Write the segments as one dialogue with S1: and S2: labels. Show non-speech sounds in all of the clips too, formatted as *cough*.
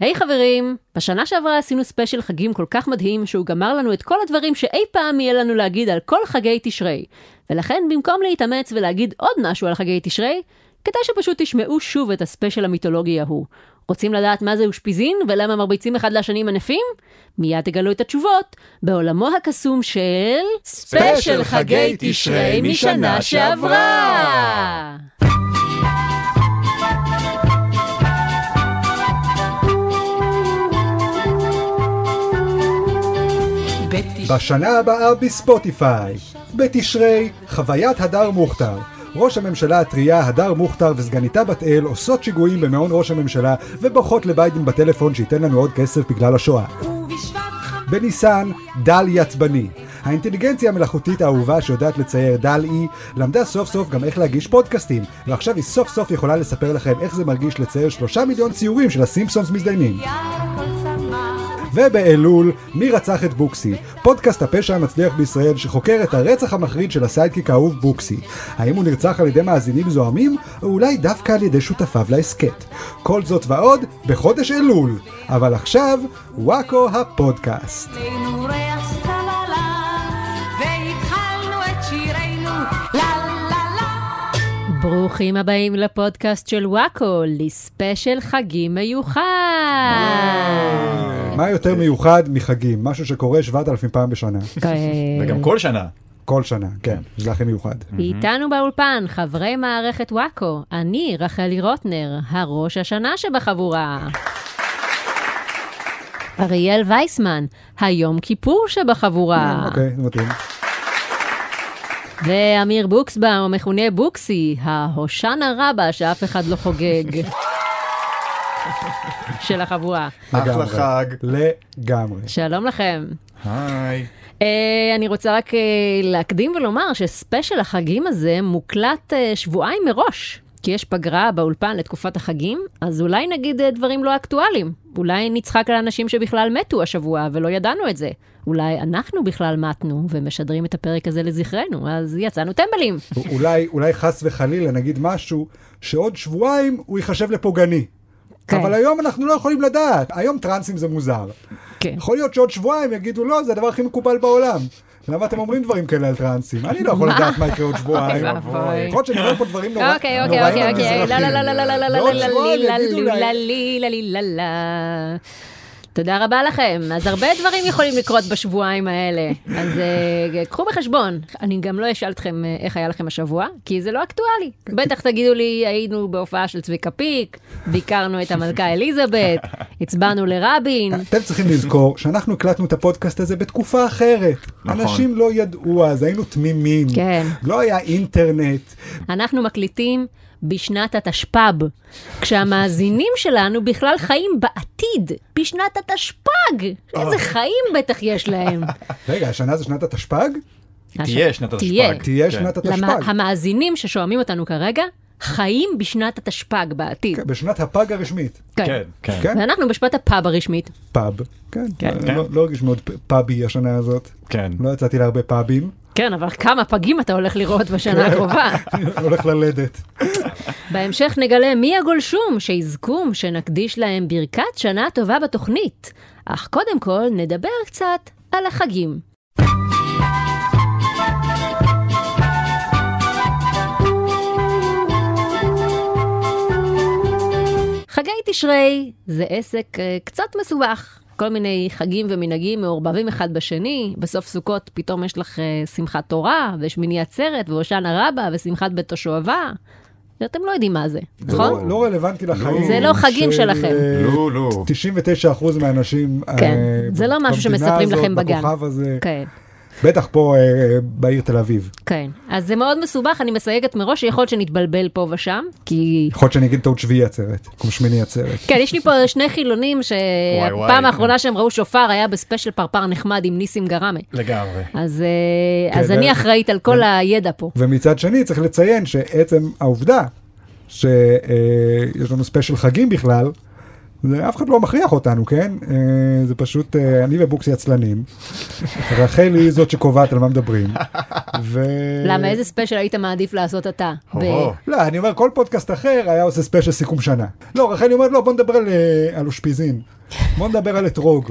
S1: היי חברים, בשנה שעברה עשינו ספיישל חגים כל כך מדהים שהוא גמר לנו את כל הדברים שאי פעם יהיה לנו להגיד על כל חגי תשרי. ולכן במקום להתאמץ ולהגיד עוד משהו על חגי תשרי, כדאי שפשוט תשמעו שוב את הספיישל המיתולוגי ההוא. רוצים לדעת מה זה אושפיזין ולמה מרביצים אחד לשני עם ענפים? מיד תגלו את התשובות בעולמו הקסום של...
S2: ספיישל חגי תשרי משנה שעברה!
S3: בשנה הבאה בספוטיפיי. בתשרי, חוויית הדר מוכתר. ראש הממשלה הטריה הדר מוכתר וסגניתה בת אל עושות שיגועים במעון ראש הממשלה ובוכות לביידן בטלפון שייתן לנו עוד כסף בגלל השואה. בניסן, דל יצבני. האינטליגנציה המלאכותית האהובה שיודעת לצייר דל אי, למדה סוף סוף גם איך להגיש פודקאסטים, ועכשיו היא סוף סוף יכולה לספר לכם איך זה מרגיש לצייר שלושה מיליון ציורים של הסימפסונס מזדיינים. ובאלול, מי רצח את בוקסי? פודקאסט הפשע המצליח בישראל שחוקר את הרצח המחריד של הסיידקיק האהוב בוקסי. האם הוא נרצח על ידי מאזינים זוהמים, או אולי דווקא על ידי שותפיו להסכת. כל זאת ועוד, בחודש אלול. אבל עכשיו, וואקו הפודקאסט.
S4: עלינו ריח סללה, והתחלנו את שירנו, לה לה לה.
S1: ברוכים הבאים לפודקאסט של וואקו, לספיישל חגים מיוחד!
S3: מה יותר מיוחד מחגים? משהו שקורה 7,000 פעם בשנה.
S1: אה,
S2: וגם כל שנה.
S3: כל שנה, כן. זה הכי מיוחד.
S1: איתנו באולפן חברי מערכת וואקו, אני רחלי רוטנר, הראש השנה שבחבורה. אריאל וייסמן, היום כיפור שבחבורה.
S3: אוקיי, זה מתאים.
S1: ואמיר בוקסבאום, המכונה בוקסי, ההושענא רבה שאף אחד לא חוגג. של החבורה.
S2: אחלה
S3: לגמרי.
S2: חג.
S3: לגמרי.
S1: שלום לכם.
S2: היי.
S1: אה, אני רוצה רק אה, להקדים ולומר שספיישל החגים הזה מוקלט אה, שבועיים מראש. כי יש פגרה באולפן לתקופת החגים, אז אולי נגיד אה, דברים לא אקטואליים. אולי נצחק על אנשים שבכלל מתו השבוע ולא ידענו את זה. אולי אנחנו בכלל מתנו ומשדרים את הפרק הזה לזכרנו, אז יצאנו טמבלים.
S3: אולי, אולי חס וחלילה נגיד משהו שעוד שבועיים הוא ייחשב לפוגעני.
S1: כן.
S3: אבל היום אנחנו לא יכולים לדעת, היום טרנסים זה מוזר.
S1: כן.
S3: יכול להיות שעוד שבועיים יגידו לא, זה הדבר הכי מקובל בעולם. למה אתם אומרים דברים כאלה על טרנסים? אני לא יכול
S1: מה?
S3: לדעת מה יקרה עוד שבועיים.
S1: אוי ואבוי.
S3: יכול להיות שאני אומר פה דברים נורא-
S1: אוקיי,
S3: נוראים
S1: אוקיי, אוקיי, אוקיי, לא, לא, לא, לא, לא, לא, לא, לא,
S3: ועוד
S1: לא,
S3: שבועיים
S1: לא,
S3: יגידו
S1: לא,
S3: להם-
S1: לא, לא, לא, לא, לא. תודה רבה לכם. אז הרבה דברים יכולים לקרות בשבועיים האלה. אז אה, קחו בחשבון. אני גם לא אשאל אתכם אה, איך היה לכם השבוע, כי זה לא אקטואלי. בטח תגידו לי, היינו בהופעה של צביקה פיק, ביקרנו את המלכה אליזבת, הצבענו לרבין.
S3: אתם צריכים לזכור שאנחנו הקלטנו את הפודקאסט הזה בתקופה אחרת.
S2: נכון.
S3: אנשים לא ידעו אז, היינו תמימים.
S1: כן.
S3: לא היה אינטרנט.
S1: אנחנו מקליטים בשנת התשפ"ב, כשהמאזינים שלנו בכלל חיים בעתיד, בשנת התשפ"ג. איזה
S2: אה.
S1: חיים בטח יש להם.
S3: רגע, השנה זה שנת התשפ"ג?
S2: תהיה שנת התשפ"ג.
S1: תהיה.
S3: תהיה
S2: כן.
S3: שנת
S1: למה
S3: התשפ"ג.
S1: המאזינים ששומעים אותנו כרגע חיים בשנת התשפ"ג בעתיד.
S3: כן, בשנת הפג הרשמית.
S2: כן, כן.
S3: כן,
S1: ואנחנו בשנת הפאב הרשמית.
S3: פאב. כן,
S1: כן.
S3: אני
S2: כן.
S3: לא- לא הרגיש מאוד פ- פאבי השנה הזאת.
S2: כן.
S3: לא יצאתי להרבה פאבים. *laughs*
S1: כן, אבל כמה פגים אתה הולך לראות בשנה הקרובה.
S3: אני הולך ללדת.
S1: *laughs* בהמשך נגלה מי הגולשום שיזכום שנקדיש להם ברכת שנה טובה בתוכנית. אך קודם כל נדבר קצת על החגים. חגי תשרי זה עסק אה, קצת מסובך. כל מיני חגים ומנהגים מעורבבים אחד בשני, בסוף סוכות פתאום יש לך אה, שמחת תורה, ושמיני עצרת, והושענא רבה, ושמחת בית השואבה. אתם לא יודעים מה זה,
S3: זה
S1: נכון?
S3: לא- לא רלוונטי לחיים.
S1: זה לא חגים
S3: של,
S1: שלכם.
S3: אה,
S2: לא, לא.
S3: 99% מהאנשים אה,
S1: כן, זה לא משהו
S3: במדינה
S1: שמספרים
S3: הזאת,
S1: לכם בגן.
S3: בכוכב הזה,
S1: כן,
S3: בטח פה אה, אה, בעיר תל אביב.
S1: כן. אז זה מאוד מסובך, אני מסייגת מראש, שיכול להיות שנתבלבל פה ושם, כי...
S3: יכול להיות שאני אגיד טעות שביעי עצרת, במקום שמיני עצרת.
S1: כן, יש לי פה שני חילונים
S2: וואי,
S1: שהפעם
S2: כן.
S1: האחרונה שהם ראו שופר היה בספיישל פרפר נחמד עם ניסים גראמה.
S2: לגמרי.
S1: אז, אה,
S3: כן,
S1: אז
S3: זה-
S1: אני אחראית על כל הידע פה.
S3: ומצד שני צריך לציין אה, שעצם העובדה שיש לנו ספיישל חגים בכלל, זה- אף אחד לא מכריח אותנו, כן? אה, זה פשוט, אה, אני
S1: *laughs*
S3: ובוקסי עצלנים. רחלי היא זאת שקובעת על מה מדברים. ו...
S1: למה איזה ספיישל היית מעדיף לעשות אתה? ב- אה,
S2: או,
S3: לא, אני אומר, כל פודקאסט אחר היה עושה ספיישל סיכום שנה. לא, רחלי אומרת, לא, בוא נדבר על, אה, על אושפיזין. בוא נדבר על אתרוג.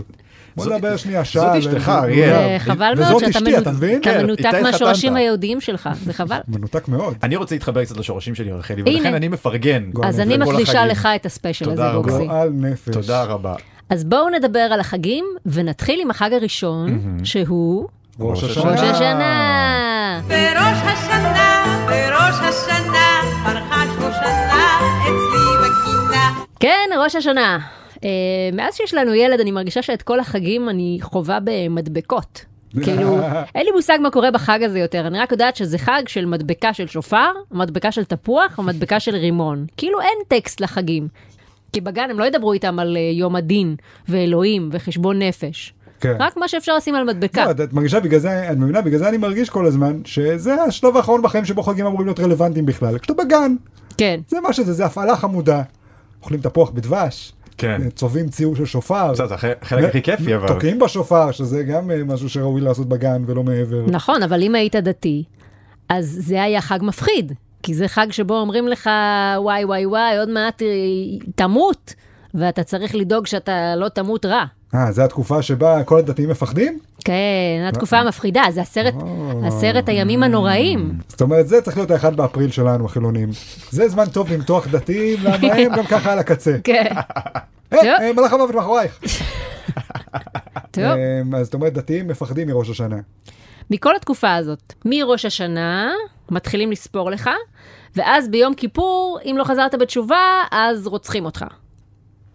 S3: בוא
S2: זאת-
S3: נדבר שנייה שעה.
S2: זאת
S3: על-
S2: אשתך,
S1: זה
S2: אריאל.
S1: חבל
S3: כן, וזאת
S1: מאוד שאתה
S3: אשתי,
S1: מנו-
S3: אתה מבין?
S1: אתה
S2: כן,
S1: מנותק
S2: איתי
S1: מהשורשים
S2: התחתנת.
S1: היהודיים שלך, זה
S3: *laughs*
S1: חבל.
S3: מנותק מאוד.
S2: אני רוצה להתחבר קצת לשורשים שלי, רחלי,
S1: הנה.
S2: ולכן אני מפרגן.
S1: אז
S3: אני
S1: אני
S2: לכל
S1: מקדישה
S2: החגים.
S1: לך את הספיישל הזה,
S2: תודה רבה.
S1: בוקסי.
S3: גועל לא נפש.
S2: תודה רבה.
S1: אז בואו נדבר על החגים, ונתחיל עם החג הראשון, שהוא
S3: ראש
S2: ראש
S1: ראש
S3: השנה.
S1: השנה.
S4: בראש השנה, בראש השנה, פרחה שושנה אצלי בגינה.
S1: כן, ראש השנה. אה, מאז שיש לנו ילד, אני מרגישה שאת כל החגים אני חווה
S3: *laughs*
S1: במדבקות. כאילו, אין לי מושג מה קורה בחג הזה יותר, אני רק יודעת שזה חג של מדבקה של שופר, מדבקה של תפוח ומדבקה של רימון. כאילו אין טקסט לחגים. כי בגן הם לא ידברו איתם על אה, יום הדין ואלוהים וחשבון נפש.
S3: כן.
S1: רק מה שאפשר לשים על מדבקה.
S3: לא, את את מרגישה בגלל זה, את מבינה, בגלל זה אני מרגיש כל הזמן, שזה השלב האחרון בחיים שבו חגים אמורים להיות רלוונטיים בכלל. כשאתה בגן,
S1: כן.
S3: זה מה שזה, זה הפעלה חמודה. אוכלים תפוח בדבש,
S2: כן.
S3: צובעים ציור של שופר.
S2: בסדר, זה הח- חלק הכי כיפי, אבל.
S3: תוקעים בשופר, שזה גם אה, משהו שראוי לעשות בגן ולא מעבר.
S1: נכון, אבל אם היית דתי, אז זה היה חג מפחיד. כי זה חג שבו אומרים לך, וואי וואי וואי, עוד מעט אה, תמות, ואתה צריך לדאוג שאתה לא תמות רע.
S3: אה, זה התקופה שבה כל הדתיים
S1: *laughs*
S3: מפחדים?
S1: כן, התקופה
S3: אה.
S1: המפחידה, זה עשרת, עשרת הימים הנוראים.
S3: *laughs* זאת אומרת, זה צריך להיות האחד באפריל שלנו, החילונים. זה זמן טוב למתוח דתיים, למה הם גם ככה על הקצה.
S1: כן,
S3: אה,
S1: *laughs* טוב.
S3: אה, מלאך המוות מאחורייך.
S1: טוב.
S3: אה, אז זאת אומרת, דתיים מפחדים מראש השנה.
S1: מכל התקופה הזאת, מראש השנה, מתחילים לספור לך, ואז ביום כיפור, אם לא חזרת בתשובה, אז רוצחים אותך.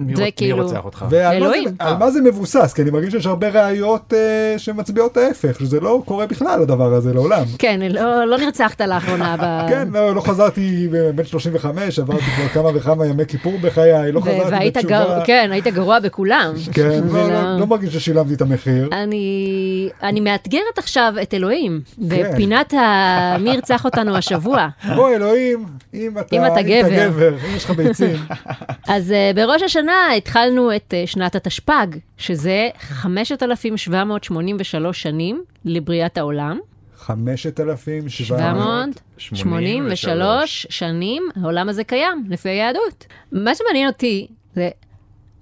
S2: מי
S1: זה
S2: רוצ- מי
S1: כאילו-
S2: רוצח אותך?
S3: ועל מה זה-
S1: אלוהים.
S3: על מה זה מבוסס? כי אני מרגיש שיש הרבה ראיות אה, שמצביעות ההפך, שזה לא קורה בכלל הדבר הזה לעולם.
S1: כן, לא, לא נרצחת לאחרונה ב...
S3: *laughs* כן, לא, לא חזרתי אה, בן 35, עברתי כבר כמה וכמה ימי כיפור בחיי, לא
S1: ו-
S3: חזרתי
S1: והיית
S3: בתשובה.
S1: גר... כן, היית גרוע בכולם.
S3: *laughs* כן,
S1: זה
S3: לא, לא, לא מרגיש ששילמתי את המחיר.
S1: אני, אני מאתגרת עכשיו את אלוהים,
S3: כן.
S1: בפינת ה... מי ירצח אותנו השבוע.
S3: בוא אלוהים, אם אתה,
S1: אה. אם אתה גבר.
S3: אם יש לך ביצים. *laughs*
S1: אז uh, בראש השנה התחלנו את uh, שנת התשפ"ג, שזה 5,783 שנים לבריאת העולם.
S3: 5,700.
S1: 783 שנים העולם הזה קיים, לפי היהדות. מה שמעניין אותי זה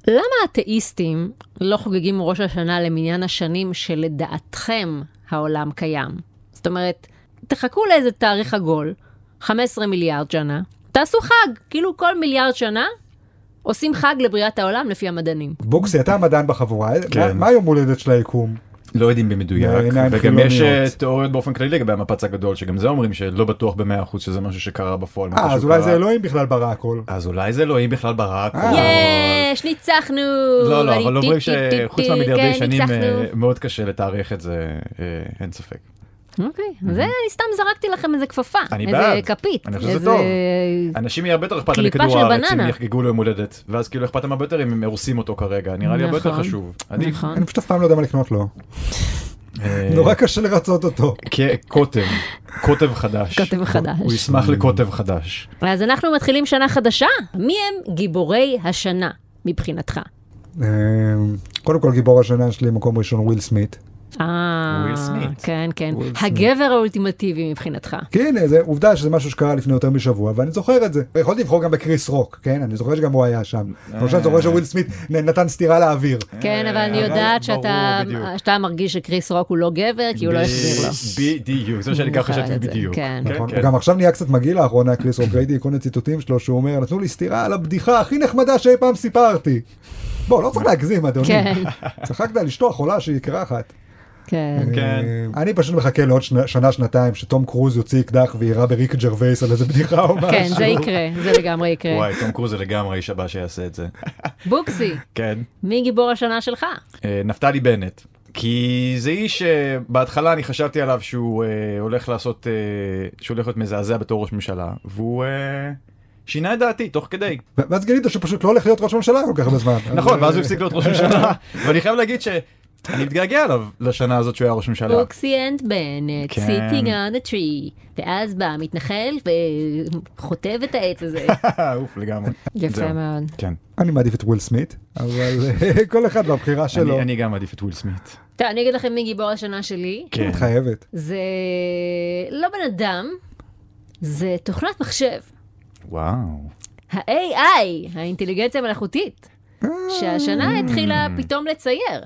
S1: למה האתאיסטים לא חוגגים ראש השנה למניין השנים שלדעתכם העולם קיים? זאת אומרת, תחכו לאיזה תאריך עגול, 15 מיליארד שנה, תעשו חג, כאילו כל מיליארד שנה עושים חג לבריאת העולם לפי המדענים.
S3: בוקסי, אתה המדען בחבורה, אה,
S2: כן.
S3: מה- מה יום הולדת של היקום?
S2: לא יודעים במדויק,
S3: בעיניים
S2: וגם יש אה,
S3: חילוניות.
S2: תיאוריות באופן כללי לגבי המפץ הגדול, שגם זה אומרים שלא בטוח במאה אחוז שזה משהו שקרה בפועל. משהו
S3: אה, אז
S2: שקרה.
S3: אולי זה אלוהים בכלל ברא הכל.
S2: אז אולי זה אלוהים בכלל ברא הכל.
S3: אה.
S1: יש, ניצחנו!
S2: לא, לא,
S1: ואני
S2: אבל
S1: טי-
S2: אומרים
S1: טי- טי-
S2: שחוץ
S1: טי-
S2: מהמיליארדי
S1: כן,
S2: שנים אה,
S1: ניצחנו.
S2: מאוד קשה לתארך את זה, אה, אין ספק.
S1: אוקיי, זה אני סתם זרקתי לכם איזה כפפה,
S2: אני
S1: איזה
S2: בעד.
S1: כפית,
S2: אני חושב שזה
S1: איזה...
S2: טוב. אנשים יהיה הרבה יותר אכפת להם
S1: קליפה
S2: מכדור
S1: של
S2: הארץ אם
S1: בננה.
S2: יחגגו לו יום הולדת, ואז כאילו אכפת להם הרבה יותר אם הם הורסים אותו כרגע, נראה לי הרבה יותר
S1: נכון.
S2: חשוב. עדיף.
S1: נכון.
S3: אני פשוט אף פעם לא יודע מה לקנות לו.
S2: אה,
S3: נורא קשה לרצות אותו.
S2: כ- קוטב, קוטב חדש.
S1: כותב חדש.
S2: הוא ישמח לקוטב חדש.
S1: אז אנחנו מתחילים שנה חדשה. מי הם גיבורי השנה מבחינתך?
S3: אמ, קודם כל גיבור השנה שלי מקום ראשון וויל סמית.
S1: אה,
S2: וויל סמית.
S1: כן, כן. הגבר האולטימטיבי מבחינתך.
S3: כי הנה, זה עובדה שזה משהו שקרה לפני יותר משבוע, ואני זוכר את זה. יכולתי לבחור גם בקריס רוק, כן? אני זוכר שגם הוא היה שם. למשל, אני זוכר שוויל סמית נ- נתן סטירה לאוויר.
S1: כן, אבל אני
S2: אה, אבל
S1: יודעת
S2: ברור,
S1: שאתה
S2: בדיוק.
S1: שאתה מרגיש שקריס רוק הוא לא גבר, כי הוא לא החזיר
S2: *laughs*
S1: לו.
S2: בדיוק, זה מה שאני ככה
S1: אני זוכרת
S2: חשבתי
S1: את זה,
S2: בדיוק.
S1: כן.
S3: נכון? וגם עכשיו נהיה קצת מגעיל לאחרונה, קריס רוק, ראיתי כל מיני ציטוטים שלו, שהוא אומר, נתנו לי סטירה על הבדיחה הכי נחמדה שאי פעם סיפרתי. בוא, לא צריך להגזים, אדוני.
S1: כן.
S3: צחקת על אשתו החולה שהיא קרחת.
S1: כן.
S2: כן.
S3: אה, אני פשוט מחכה לעוד שנה- שנה, שנתיים, שתום קרוז יוציא אקדח ויירה בריק ג'רווייס על איזה בדיחה או משהו.
S1: כן,
S2: *laughs*
S1: זה יקרה, זה לגמרי יקרה.
S2: וואי, תום קרוז זה לגמרי איש הבא שיעשה את זה.
S1: בוקסי,
S2: כן.
S1: מי גיבור השנה שלך?
S2: אה, נפתלי בנט. כי זה איש שבהתחלה אני חשבתי עליו שהוא אה, הולך לעשות, אה, שהוא הולך להיות מזעזע בתור ראש ממשלה, והוא אה, שינה את דעתי תוך כדי.
S3: ו- ואז גילית שפשוט לא הולך להיות ראש ממשלה כל כך בזמן. *laughs*
S2: נכון, ואז הוא הפסיק להיות ראש ממשלה. ואני חייב להגיד ש... אני מתגעגע אליו לשנה הזאת שהוא היה ראש ממשלה.
S1: אוקסי אנד בנט,
S2: כן.
S1: סיטינג און הטרי, ואז בא מתנחל וחוטב את העץ הזה.
S3: אוקיי.
S2: *laughs* אוף לגמרי.
S1: יפה
S2: זהו.
S1: מאוד.
S2: כן.
S3: אני מעדיף את וויל סמית, אבל אה, כל אחד והבחירה שלו.
S2: אני- אני גם מעדיף את וויל סמית.
S1: טוב, אני אגיד לכם מי גיבור השנה שלי.
S2: כן.
S3: את חייבת.
S1: זה לא בן אדם, זה תוכנת מחשב.
S3: *laughs*
S2: וואו.
S1: ה-AI, האינטליגנציה המלאכותית, שהשנה התחילה פתאום לצייר.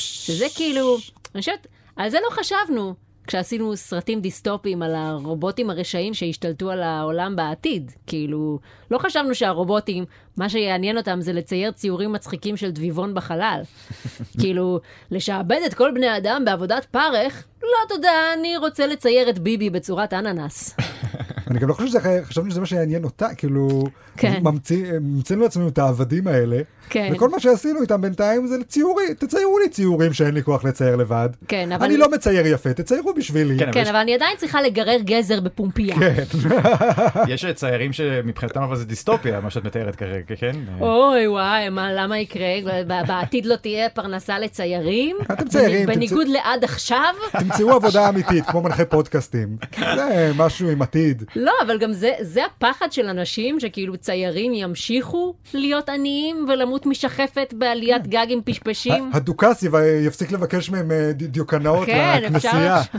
S1: שזה כאילו, אני חושבת, על זה לא חשבנו כשעשינו סרטים דיסטופיים על הרובוטים הרשעים שהשתלטו על העולם בעתיד. כאילו, לא חשבנו שהרובוטים, מה שיעניין אותם זה לצייר ציורים מצחיקים של דביבון בחלל. כאילו, לשעבד את כל בני האדם בעבודת פרך, לא תודה, אני רוצה לצייר את ביבי בצורת אננס.
S3: אני גם לא חושב שזה, חי- חשבנו שזה מה שיעניין אותה, כאילו,
S1: כן.
S3: ממציא- המצאנו לעצמנו את העבדים האלה,
S1: כן.
S3: וכל מה שעשינו איתם בינתיים זה ציורים, תציירו לי ציורים שאין לי כוח לצייר לבד.
S1: כן, אבל...
S3: אני לא מצייר יפה, תציירו בשבילי.
S2: כן,
S1: כן,
S2: יש-
S1: אבל אני עדיין צריכה לגרר גזר בפומפייה.
S2: יש ציירים שמבחינתם אבל זה דיסטופיה, מה שאת מתארת כרגע, כן?
S1: אוי וואי, מה, למה יקרה? ב- בעתיד לא תהיה פרנסה לציירים?
S3: אתם ציירים,
S1: בנ-
S3: אתם
S1: בניגוד לעד עכשיו?
S3: תמצאו עבודה אמיתית, כמו מנחי פודקאסטים.
S1: כן.
S3: זה משהו עם עתיד.
S1: לא, אבל גם זה, זה הפחד של אנשים, שכאילו ציירים ימשיכו להיות עניים ולמות משחפת בעליית
S3: כן.
S1: גג עם
S3: אה,
S1: פשפשים.
S3: הדוכס יב- יפסיק לבקש מהם אה, ד- דיוקנאות
S1: כן,
S3: לכנסייה.
S1: אפשר-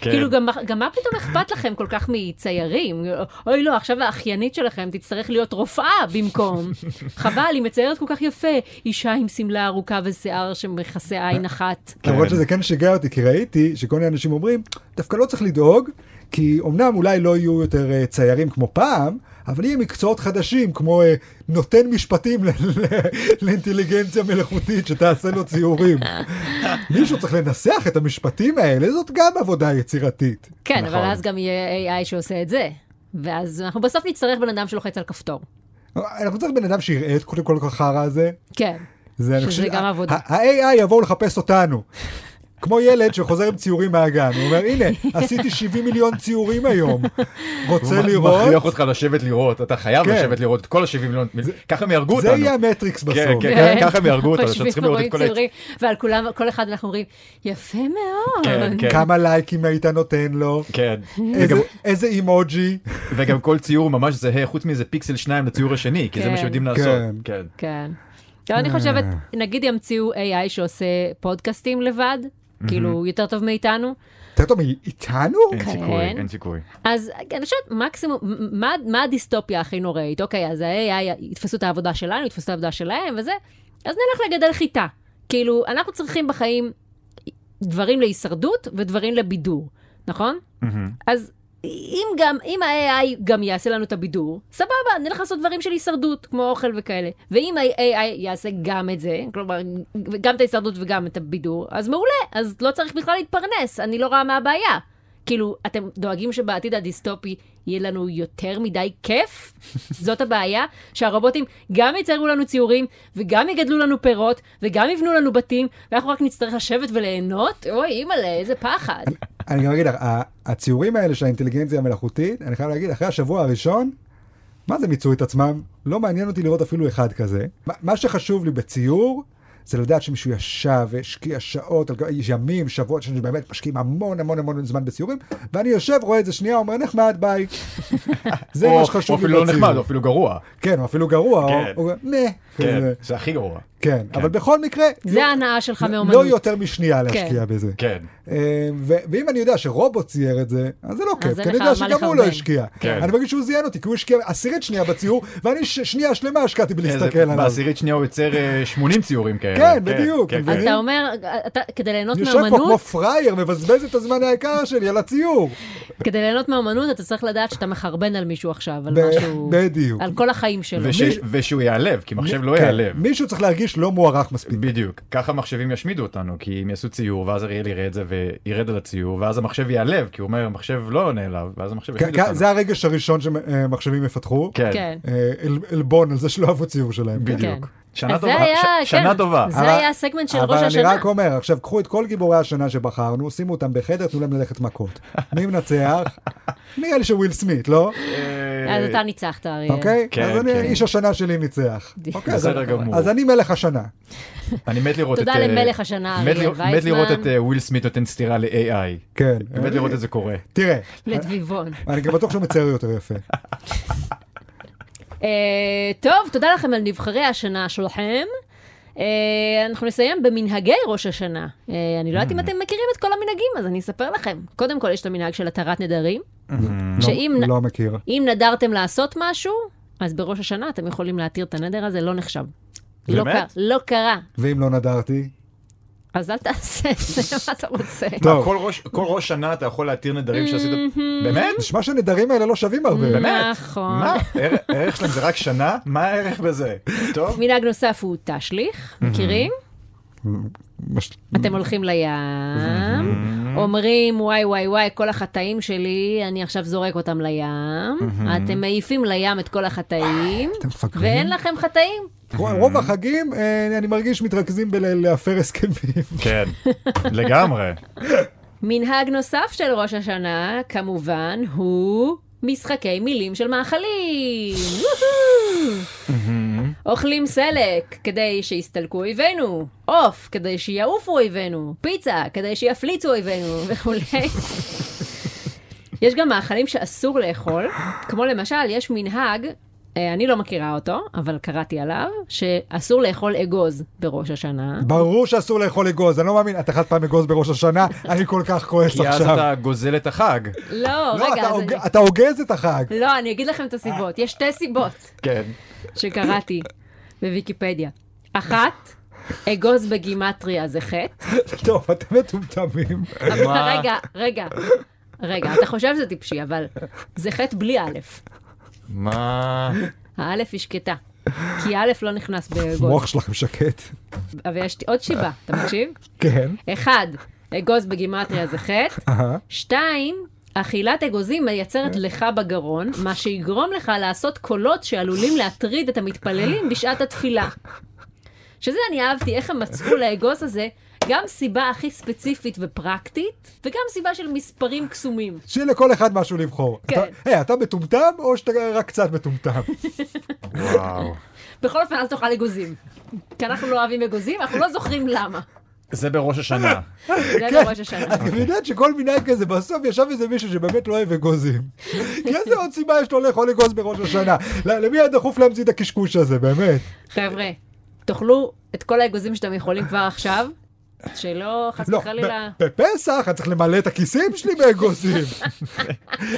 S2: כן.
S1: כאילו, גם, גם מה פתאום אכפת לכם כל כך מציירים? אוי, לא, עכשיו האחיינית שלכם תצטרך להיות רופאה
S3: *laughs*
S1: במקום. חבל, היא מציירת כל כך יפה. אישה עם שמלה ארוכה ושיער שמכסה עין אחת.
S3: למרות שזה כן שיגע אותי, כי ראיתי שכל מיני אנשים אומרים, דווקא לא צריך לדאוג, כי אמנם אולי לא יהיו יותר אה, ציירים כמו פעם, אבל יהיו מקצועות חדשים, כמו אה, נותן משפטים ל- ל- לאינטליגנציה מלאכותית שתעשה לו ציורים. מישהו צריך לנסח את המשפטים האלה, זאת גם עבודה יצירתית.
S1: כן,
S2: נכון.
S1: אבל אז גם יהיה AI שעושה את זה. ואז אנחנו בסוף נצטרך בן אדם שלוחץ על כפתור.
S3: אנחנו צריכים בן אדם שיראה את קודם כל החרא הזה.
S1: כן.
S3: זה אני
S1: שזה
S3: חושב,
S1: גם
S3: ה-
S1: עבודה.
S3: ה- ה-AI יבואו לחפש אותנו. כמו ילד שחוזר עם ציורים מהגן, הוא אומר, הנה, עשיתי 70 מיליון ציורים היום. רוצה
S2: הוא מכריח
S3: לראות?
S2: אותך לשבת לראות, אתה חייב
S3: כן.
S2: לשבת לראות את כל ה-70 מיליון, ככה הם יהרגו
S3: זה
S2: אותנו.
S3: יהיה המטריקס בסוף.
S2: כן,
S1: כן.
S2: ככה הם יהרגו אותנו, שאנחנו צריכים לראות את
S1: רואים
S2: כל ה...
S1: ציורים, ועל כולם, כל אחד אנחנו אומרים, יפה מאוד.
S2: כן, כן,
S3: כמה לייקים היית נותן
S1: *laughs*
S3: לו?
S2: כן.
S3: איזה-
S2: וגם-
S3: איזה אימוג'י?
S2: וגם כל ציור ממש זהה, חוץ מזה פיקסל שניים לציור השני, כי זה מה
S1: כן.
S2: שיודעים לעשות.
S3: כן.
S2: כן.
S1: כן. לא, אני חושבת,
S2: אה.
S1: נגיד ימציאו AI שעושה פודקאסטים לבד, כאילו, הוא יותר טוב מאיתנו,
S3: יותר טוב מאיתנו?
S2: אין
S1: כן.
S2: סיכוי, אין סיכוי.
S1: אז אני חושבת, מקסימום, מ- מה, מה הדיסטופיה הכי נוראית? אוקיי, אז ה-AI יתפסו את העבודה שלנו, יתפסו את העבודה שלהם וזה, אז נלך לגדל חיטה. כאילו, אנחנו צריכים בחיים דברים להישרדות ודברים לבידור, נכון?
S2: מהמם.
S1: אז אם גם, אם ה-AI גם יעשה לנו את הבידור, סבבה, נלך לעשות דברים של הישרדות, כמו אוכל וכאלה. ואם ה-AI יעשה גם את זה, כלומר, גם את ההישרדות וגם את הבידור, אז מעולה, אז לא צריך בכלל להתפרנס, אני לא רואה מה הבעיה. כאילו, אתם דואגים שבעתיד הדיסטופי יהיה לנו יותר מדי כיף? *laughs* זאת הבעיה? שהרובוטים גם יציירו לנו ציורים, וגם יגדלו לנו פירות, וגם יבנו לנו בתים, ואנחנו רק נצטרך לשבת וליהנות? אוי, אימא'לה, איזה פחד.
S3: אני גם אגיד לך, ה- הציורים האלה של האינטליגנציה המלאכותית, אני חייב להגיד, אחרי השבוע הראשון, מה זה מיצו את עצמם? לא מעניין אותי לראות אפילו אחד כזה. מה- מה שחשוב לי בציור, זה לדעת שמישהו ישב והשקיע שעות, על גבי- ימים, שבועות, שבאמת משקיעים המון המון המון זמן בציורים, ואני יושב, רואה את זה שנייה, אומר נחמד,
S2: *laughs*
S3: ביי. זה
S2: או
S3: מה
S2: או
S3: שחשוב לי
S2: אפילו לא
S3: בציור.
S2: נחמד, או אפילו גרוע.
S3: כן, או אפילו גרוע, או-
S2: כן.
S3: או נה.
S2: כן,
S3: כזה.
S2: זה הכי גרוע.
S3: כן, אבל בכל מקרה, לא-
S1: זה ההנאה שלך
S3: לא
S1: מאומנות.
S3: יותר משנייה להשקיע בזה.
S2: כן.
S3: אה, ו- ואם אני יודע שרובוט צייר את זה, אז זה לא כיף,
S1: אין
S3: כי אני
S1: לך
S3: יודע
S1: על מה
S3: שגם הוא לא
S1: לחרבן.
S3: השקיע.
S2: כן.
S3: אני מרגיש שהוא זיין אותי, כי הוא השקיע עשירית שנייה בציור, ואני ש- שנייה שלמה השקעתי בלהסתכל
S2: איזה-
S3: עליו.
S2: בעשירית שנייה הוא יוצר אה, 80 ציורים כאלה.
S3: כן, בדיוק,
S2: כן,
S3: אתה
S1: אז
S2: כן.
S1: אתה אומר, אתה, כדי ליהנות
S3: אני יושב פה כמו
S1: מאומנות,
S3: פראייר, מבזבז את הזמן היקר שלי על הציור.
S1: כדי ליהנות מאומנות, אתה צריך לדעת שאתה מחרבן על מישהו עכשיו, על
S3: ב-
S1: משהו,
S3: בדיוק.
S1: על כל החיים שלו.
S2: וש- ושהוא ייעלב, כי מחשב לא
S3: כן,
S2: ייעלב.
S3: מישהו צריך להרגיש לא מוערך מספיק.
S2: בדיוק, ככה מחשבים ישמידו אותנו, כי הם יעשו ציור, ואז אריאל יראה את זה וירד על הציור, ואז המחשב ייעלב, כי הוא אומר, המחשב לא נעלב, ואז המחשב
S3: כ-
S2: ישמיד
S3: כ-
S2: אותנו.
S3: כן, זה הרגש הראשון שמחשבים יפתחו.
S2: כן,
S1: כן.
S3: אה, על- עלבון על זה שלא אהבו ציור שלהם.
S2: בדיוק.
S1: כן.
S2: שנה
S1: אז
S2: טובה.
S1: זה היה,
S2: ש-
S1: כן.
S2: שנה טובה.
S1: זה היה הסגמנט של ראש
S3: אבל
S1: השנה.
S3: אני רק אומר, עכשיו קחו את כל גיבורי השנה שבחרנו, שימו אותם בחדר, תנו להם ללכת מכות.
S1: *laughs*
S3: מי מנצח? נראה לי שוויל סמית, לא?
S2: אה,
S1: כן. אז אתה ניצחת, אריה.
S3: אוקיי?
S2: כן,
S3: אז אני,
S2: כן.
S3: איש השנה שלי
S1: *laughs*
S3: ניצח. אוקיי, אז-
S2: בסדר גמור.
S3: אז אני מלך השנה.
S2: אני מת לראות את...
S1: תודה
S2: אה,
S1: למלך השנה,
S2: מת
S1: אריאל
S2: ל- מת לראות את
S1: וייסמן,
S2: אה, וויל סמית נותן סטירה ל-AI.
S3: כן.
S2: באמת לראות את זה קורה.
S3: תראה,
S1: לדביבון.
S3: אני גם בטוח שהוא מצייר יותר יפה.
S1: אה, טוב, תודה לכם על נבחרי השנה שלכם. אה, אנחנו נסיים במנהגי ראש השנה. אה, אני לא יודעת
S2: Mm.
S1: אם אתם מכירים את כל המנהגים, אז אני אספר לכם. קודם כל, יש את המנהג של התרת נדרים, *laughs* שאם
S3: לא- לא מכיר.
S1: אם נדרתם לעשות משהו, אז בראש השנה אתם יכולים להתיר את הנדר הזה, לא נחשב. לא
S2: באמת?
S1: קרה, לא קרה.
S3: ואם לא נדרתי?
S1: אז אל תעשה את זה, מה אתה רוצה?
S3: טוב.
S2: אה, כל ראש- כל ראש שנה אתה יכול להתיר נדרים שעשית...
S1: כן.
S2: באמת?
S3: נשמע שהנדרים האלה לא שווים הרבה.
S2: באמת?
S1: נכון.
S2: מה? הערך- הערך שלהם זה רק שנה? מה הערך בזה? טוב?
S1: מנהג נוסף הוא תשליך,
S3: Mm-hmm.
S1: מכירים?
S3: מש-
S1: אתם הולכים לים,
S3: Mm-hmm.
S1: אומרים וואי וואי וואי, כל החטאים שלי, אני עכשיו זורק אותם לים. אתם מעיפים לים את כל החטאים,
S3: Mm-hmm. אתם מפגרים?
S1: ואין לכם חטאים.
S3: רוב החגים, אה, אני מרגיש מתרכזים בלהפר הסכמים.
S2: כן, לגמרי.
S1: מנהג נוסף של ראש השנה, כמובן, הוא משחקי מילים של מאכלים. וואו! אוכלים סלק כדי שיסתלקו אויבינו, עוף כדי שיעופו אויבינו, פיצה כדי שיפליצו אויבינו וכולי. יש גם מאכלים שאסור לאכול, כמו למשל, יש מנהג, אה, אני לא מכירה אותו, אבל קראתי עליו, שאסור לאכול אגוז בראש השנה.
S3: ברור שאסור לאכול אגוז, אני לא מאמין, את אכלת פעם אגוז בראש השנה, אני כל כך כועס
S2: כי אז
S3: עכשיו.
S2: אתה גוזל את החג.
S1: לא,
S3: לא,
S1: רגע,
S3: אתה
S1: אז
S3: הוג-
S1: אני...
S3: אתה הוגז את
S1: *laughs*
S3: החג.
S1: לא, אני אגיד לכם את הסיבות. יש שתי סיבות
S2: כן.
S1: שקראתי בוויקיפדיה. אחת, אגוז בגימטריה זה חטא.
S3: טוב, אתם מטומטמים.
S1: אבל
S2: מה?
S1: רגע, רגע, רגע, אתה חושב שזה טיפשי, אבל זה חטא בלי א'.
S2: מה?
S1: האלף היא שקטה. כי א' לא נכנס באגוז.
S3: המוח שלכם שקט.
S1: ויש עוד שיבה, אתה מקשיב?
S3: כן.
S1: אחד, אגוז בגימטריה זה חטא.
S3: אהה.
S1: שתיים, אכילת אגוזים מייצרת
S3: כן.
S1: לך בגרון, מה שיגרום לך לעשות קולות שעלולים להטריד את המתפללים בשעת התפילה. שזה אני אהבתי, איך הם מצאו לאגוז הזה גם סיבה הכי ספציפית ופרקטית, וגם סיבה של מספרים קסומים.
S3: שיהיה לכל אחד משהו לבחור.
S1: כן.
S3: אתה- היי, אתה מטומטם או שאתה רק קצת מטומטם?
S2: וואו.
S1: בכל אופן, אז תאכל אגוזים. כי אנחנו לא אוהבים אגוזים, אנחנו לא זוכרים למה.
S2: זה בראש השנה.
S1: *laughs* זה בראש השנה.
S3: כן. את גם יודעת שכל מנהג כזה, בסוף ישב איזה מישהו שבאמת לא
S1: *laughs*
S3: אוהב אגוזים. כי איזה עוד סיבה יש לו לאכול אגוז בראש השנה? ל- למי היה דחוף להמציא את הקשקוש הזה, באמת?
S1: חבר'ה, תאכלו את כל האגוזים שאתם יכולים כבר עכשיו, שלא, חס
S3: לא,
S1: וחלילה...
S3: ב- בפסח אני צריך למלא את הכיסים שלי
S2: *laughs*
S3: באגוזים.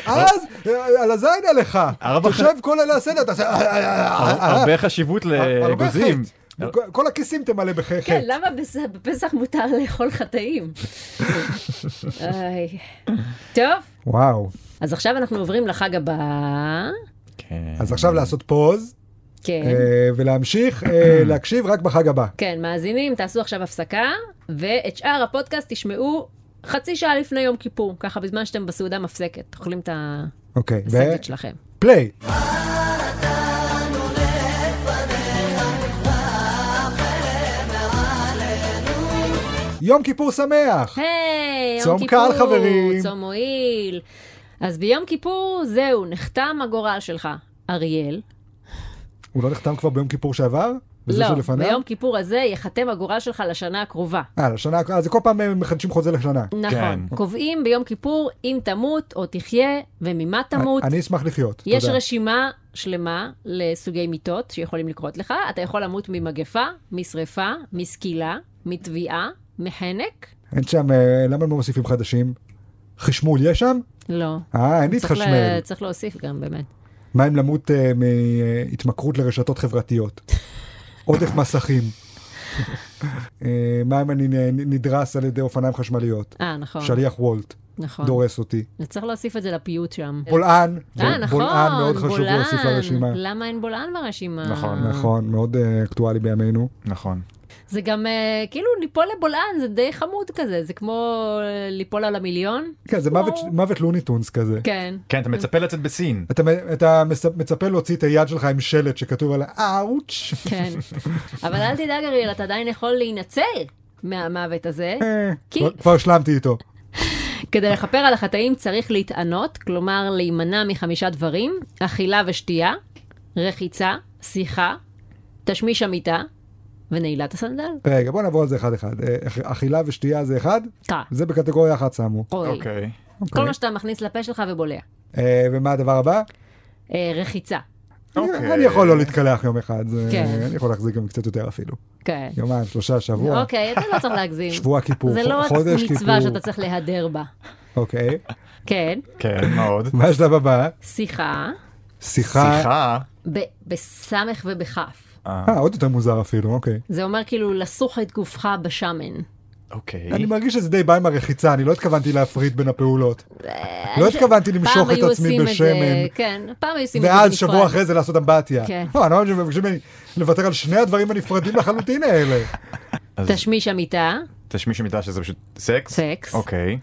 S3: אז אה, על הזין עליך.
S2: ארבע
S3: תושב כל אלה הסדר, אתה עושה... אה, אה, אה, אה, אה,
S2: הרבה חשיבות
S3: הרבה
S2: לאגוזים.
S3: חטא. אה, כל- כל הכיסים תמלא בחטא.
S1: כן, למה בס- בפסח מותר לאכול חטאים? איי. טוב,
S3: וואו.
S1: אז עכשיו אנחנו עוברים לחג הבא.
S2: כן.
S3: אז עכשיו לעשות פוז
S1: כן.
S3: אה, ולהמשיך
S2: *clears throat*
S3: אה, להקשיב רק בחג הבא.
S1: כן, מאזינים, תעשו עכשיו הפסקה, ואת שאר הפודקאסט תשמעו חצי שעה לפני יום כיפור, ככה בזמן שאתם בסעודה מפסקת, אוכלים את
S3: אוקיי.
S1: הסנדוויץ' שלכם.
S3: ופליי. יום כיפור שמח!
S1: היי, יום
S3: צום
S1: כיפור,
S3: קל, חברים.
S1: צום מועיל. אז ביום כיפור, זהו, נחתם הגורל שלך, אריאל.
S3: הוא לא נחתם כבר ביום כיפור שעבר? בזה
S1: לא,
S3: שלפניו?
S1: ביום כיפור הזה ייחתם הגורל שלך לשנה הקרובה.
S3: אה, לשנה, אה, זה כל פעם אה, מחדשים חוזה לשנה.
S1: נכון. כן. קובעים ביום כיפור אם תמות או תחיה וממה תמות.
S3: אני אשמח לחיות.
S1: יש
S3: תודה.
S1: רשימה שלמה לסוגי מיטות שיכולים לקרות לך. אתה יכול למות ממגפה, משרפה, מסקילה, מטביעה, מחנק.
S3: אין שם, אה, למה הם לא מוסיפים חדשים? חשמול יש שם?
S1: לא.
S3: אה, אין לי
S1: צריך,
S3: חשמל.
S1: ל... צריך להוסיף גם באמת.
S3: מה אם למות אה, מהתמכרות לרשתות
S1: *laughs*
S3: חברתיות? עודף מסכים. אה, מה אם אני נ- נדרס על ידי אופניים חשמליות?
S1: אה, נכון.
S3: שליח וולט
S1: נכון.
S3: דורס אותי.
S1: צריך להוסיף את זה לפיוט שם.
S3: בולען,
S1: אה,
S3: בול-
S1: נכון,
S3: בולען מאוד חשוב
S1: בולען.
S3: להוסיף לרשימה.
S1: למה אין בולען ברשימה?
S2: נכון.
S3: נכון, מאוד אה, אקטואלי בימינו.
S2: נכון.
S1: זה גם אה, כאילו ליפול לבולען, זה די חמוד כזה, זה כמו אה, ליפול על המיליון.
S3: כן, זה מוות-
S1: כמו-
S3: מוות לוניטונס כזה.
S1: כן.
S2: כן, אתה מצפה לצאת בסין.
S3: אתה, מ- אתה מס- מצפה להוציא את היד שלך עם שלט שכתוב על האאוץ'.
S1: כן. אבל אל תדאג, אריאל, אתה עדיין יכול להינצל מהמוות הזה.
S3: אה,
S1: כי-
S3: כבר- כבר השלמתי איתו.
S1: כדי לכפר על החטאים צריך להתענות, כלומר להימנע מחמישה דברים, אכילה ושתייה, רחיצה, שיחה, תשמיש המיטה ונעילת הסנדל.
S3: רגע, בוא נעבור על זה אחד-אחד. אה, אכ- אכילה ושתייה זה אחד,
S1: קרא,
S3: זה בקטגוריה אחת שמו.
S1: אוי.
S2: אוקיי.
S1: כל מה שאתה מכניס לפה שלך ובולע.
S3: אה, ומה הדבר הבא?
S1: אה, רחיצה,
S2: אוקיי.
S3: אני יכול לא להתקלח יום אחד, זה-
S1: כן.
S3: אני יכול להחזיק גם קצת יותר אפילו.
S1: כן.
S3: יומיים, שלושה, שבוע,
S1: אוקיי, אתה לא צריך להגזים.
S3: שבוע כיפור,
S1: זה לא
S3: חודש
S1: רק
S3: כיפור.
S1: מצווה שאתה צריך להדר בה.
S3: אוקיי,
S1: כן,
S2: כן, מה עוד?
S3: מה השלב הבא?
S1: שיחה,
S3: שיחה.
S2: שיחה.
S1: ב- בסמך ובכף.
S2: אה,
S3: אה, עוד יותר מוזר אפילו, אוקיי.
S1: זה אומר כאילו לסוך את גופך בשמן.
S2: אוקיי.
S3: אני מרגיש שזה די בא עם הרחיצה, אני לא התכוונתי להפריד בין הפעולות. לא התכוונתי למשוך
S1: אה, פעם
S3: את
S1: היו
S3: עצמי
S1: עושים את זה-
S3: בשמן,
S1: כן, פעם היו עושים את זה בנפרד.
S3: ואז שבוע אחרי זה לעשות אמבטיה.
S1: כן.
S3: לא, אני לא מבין שמבקשים ממני לוותר על שני הדברים הנפרדים לחלוטין
S1: *laughs*
S3: האלה.
S1: תשמיש המיטה,
S2: תשמיש מיטה שזה פשוט סקס?
S1: סקס.
S2: אוקיי.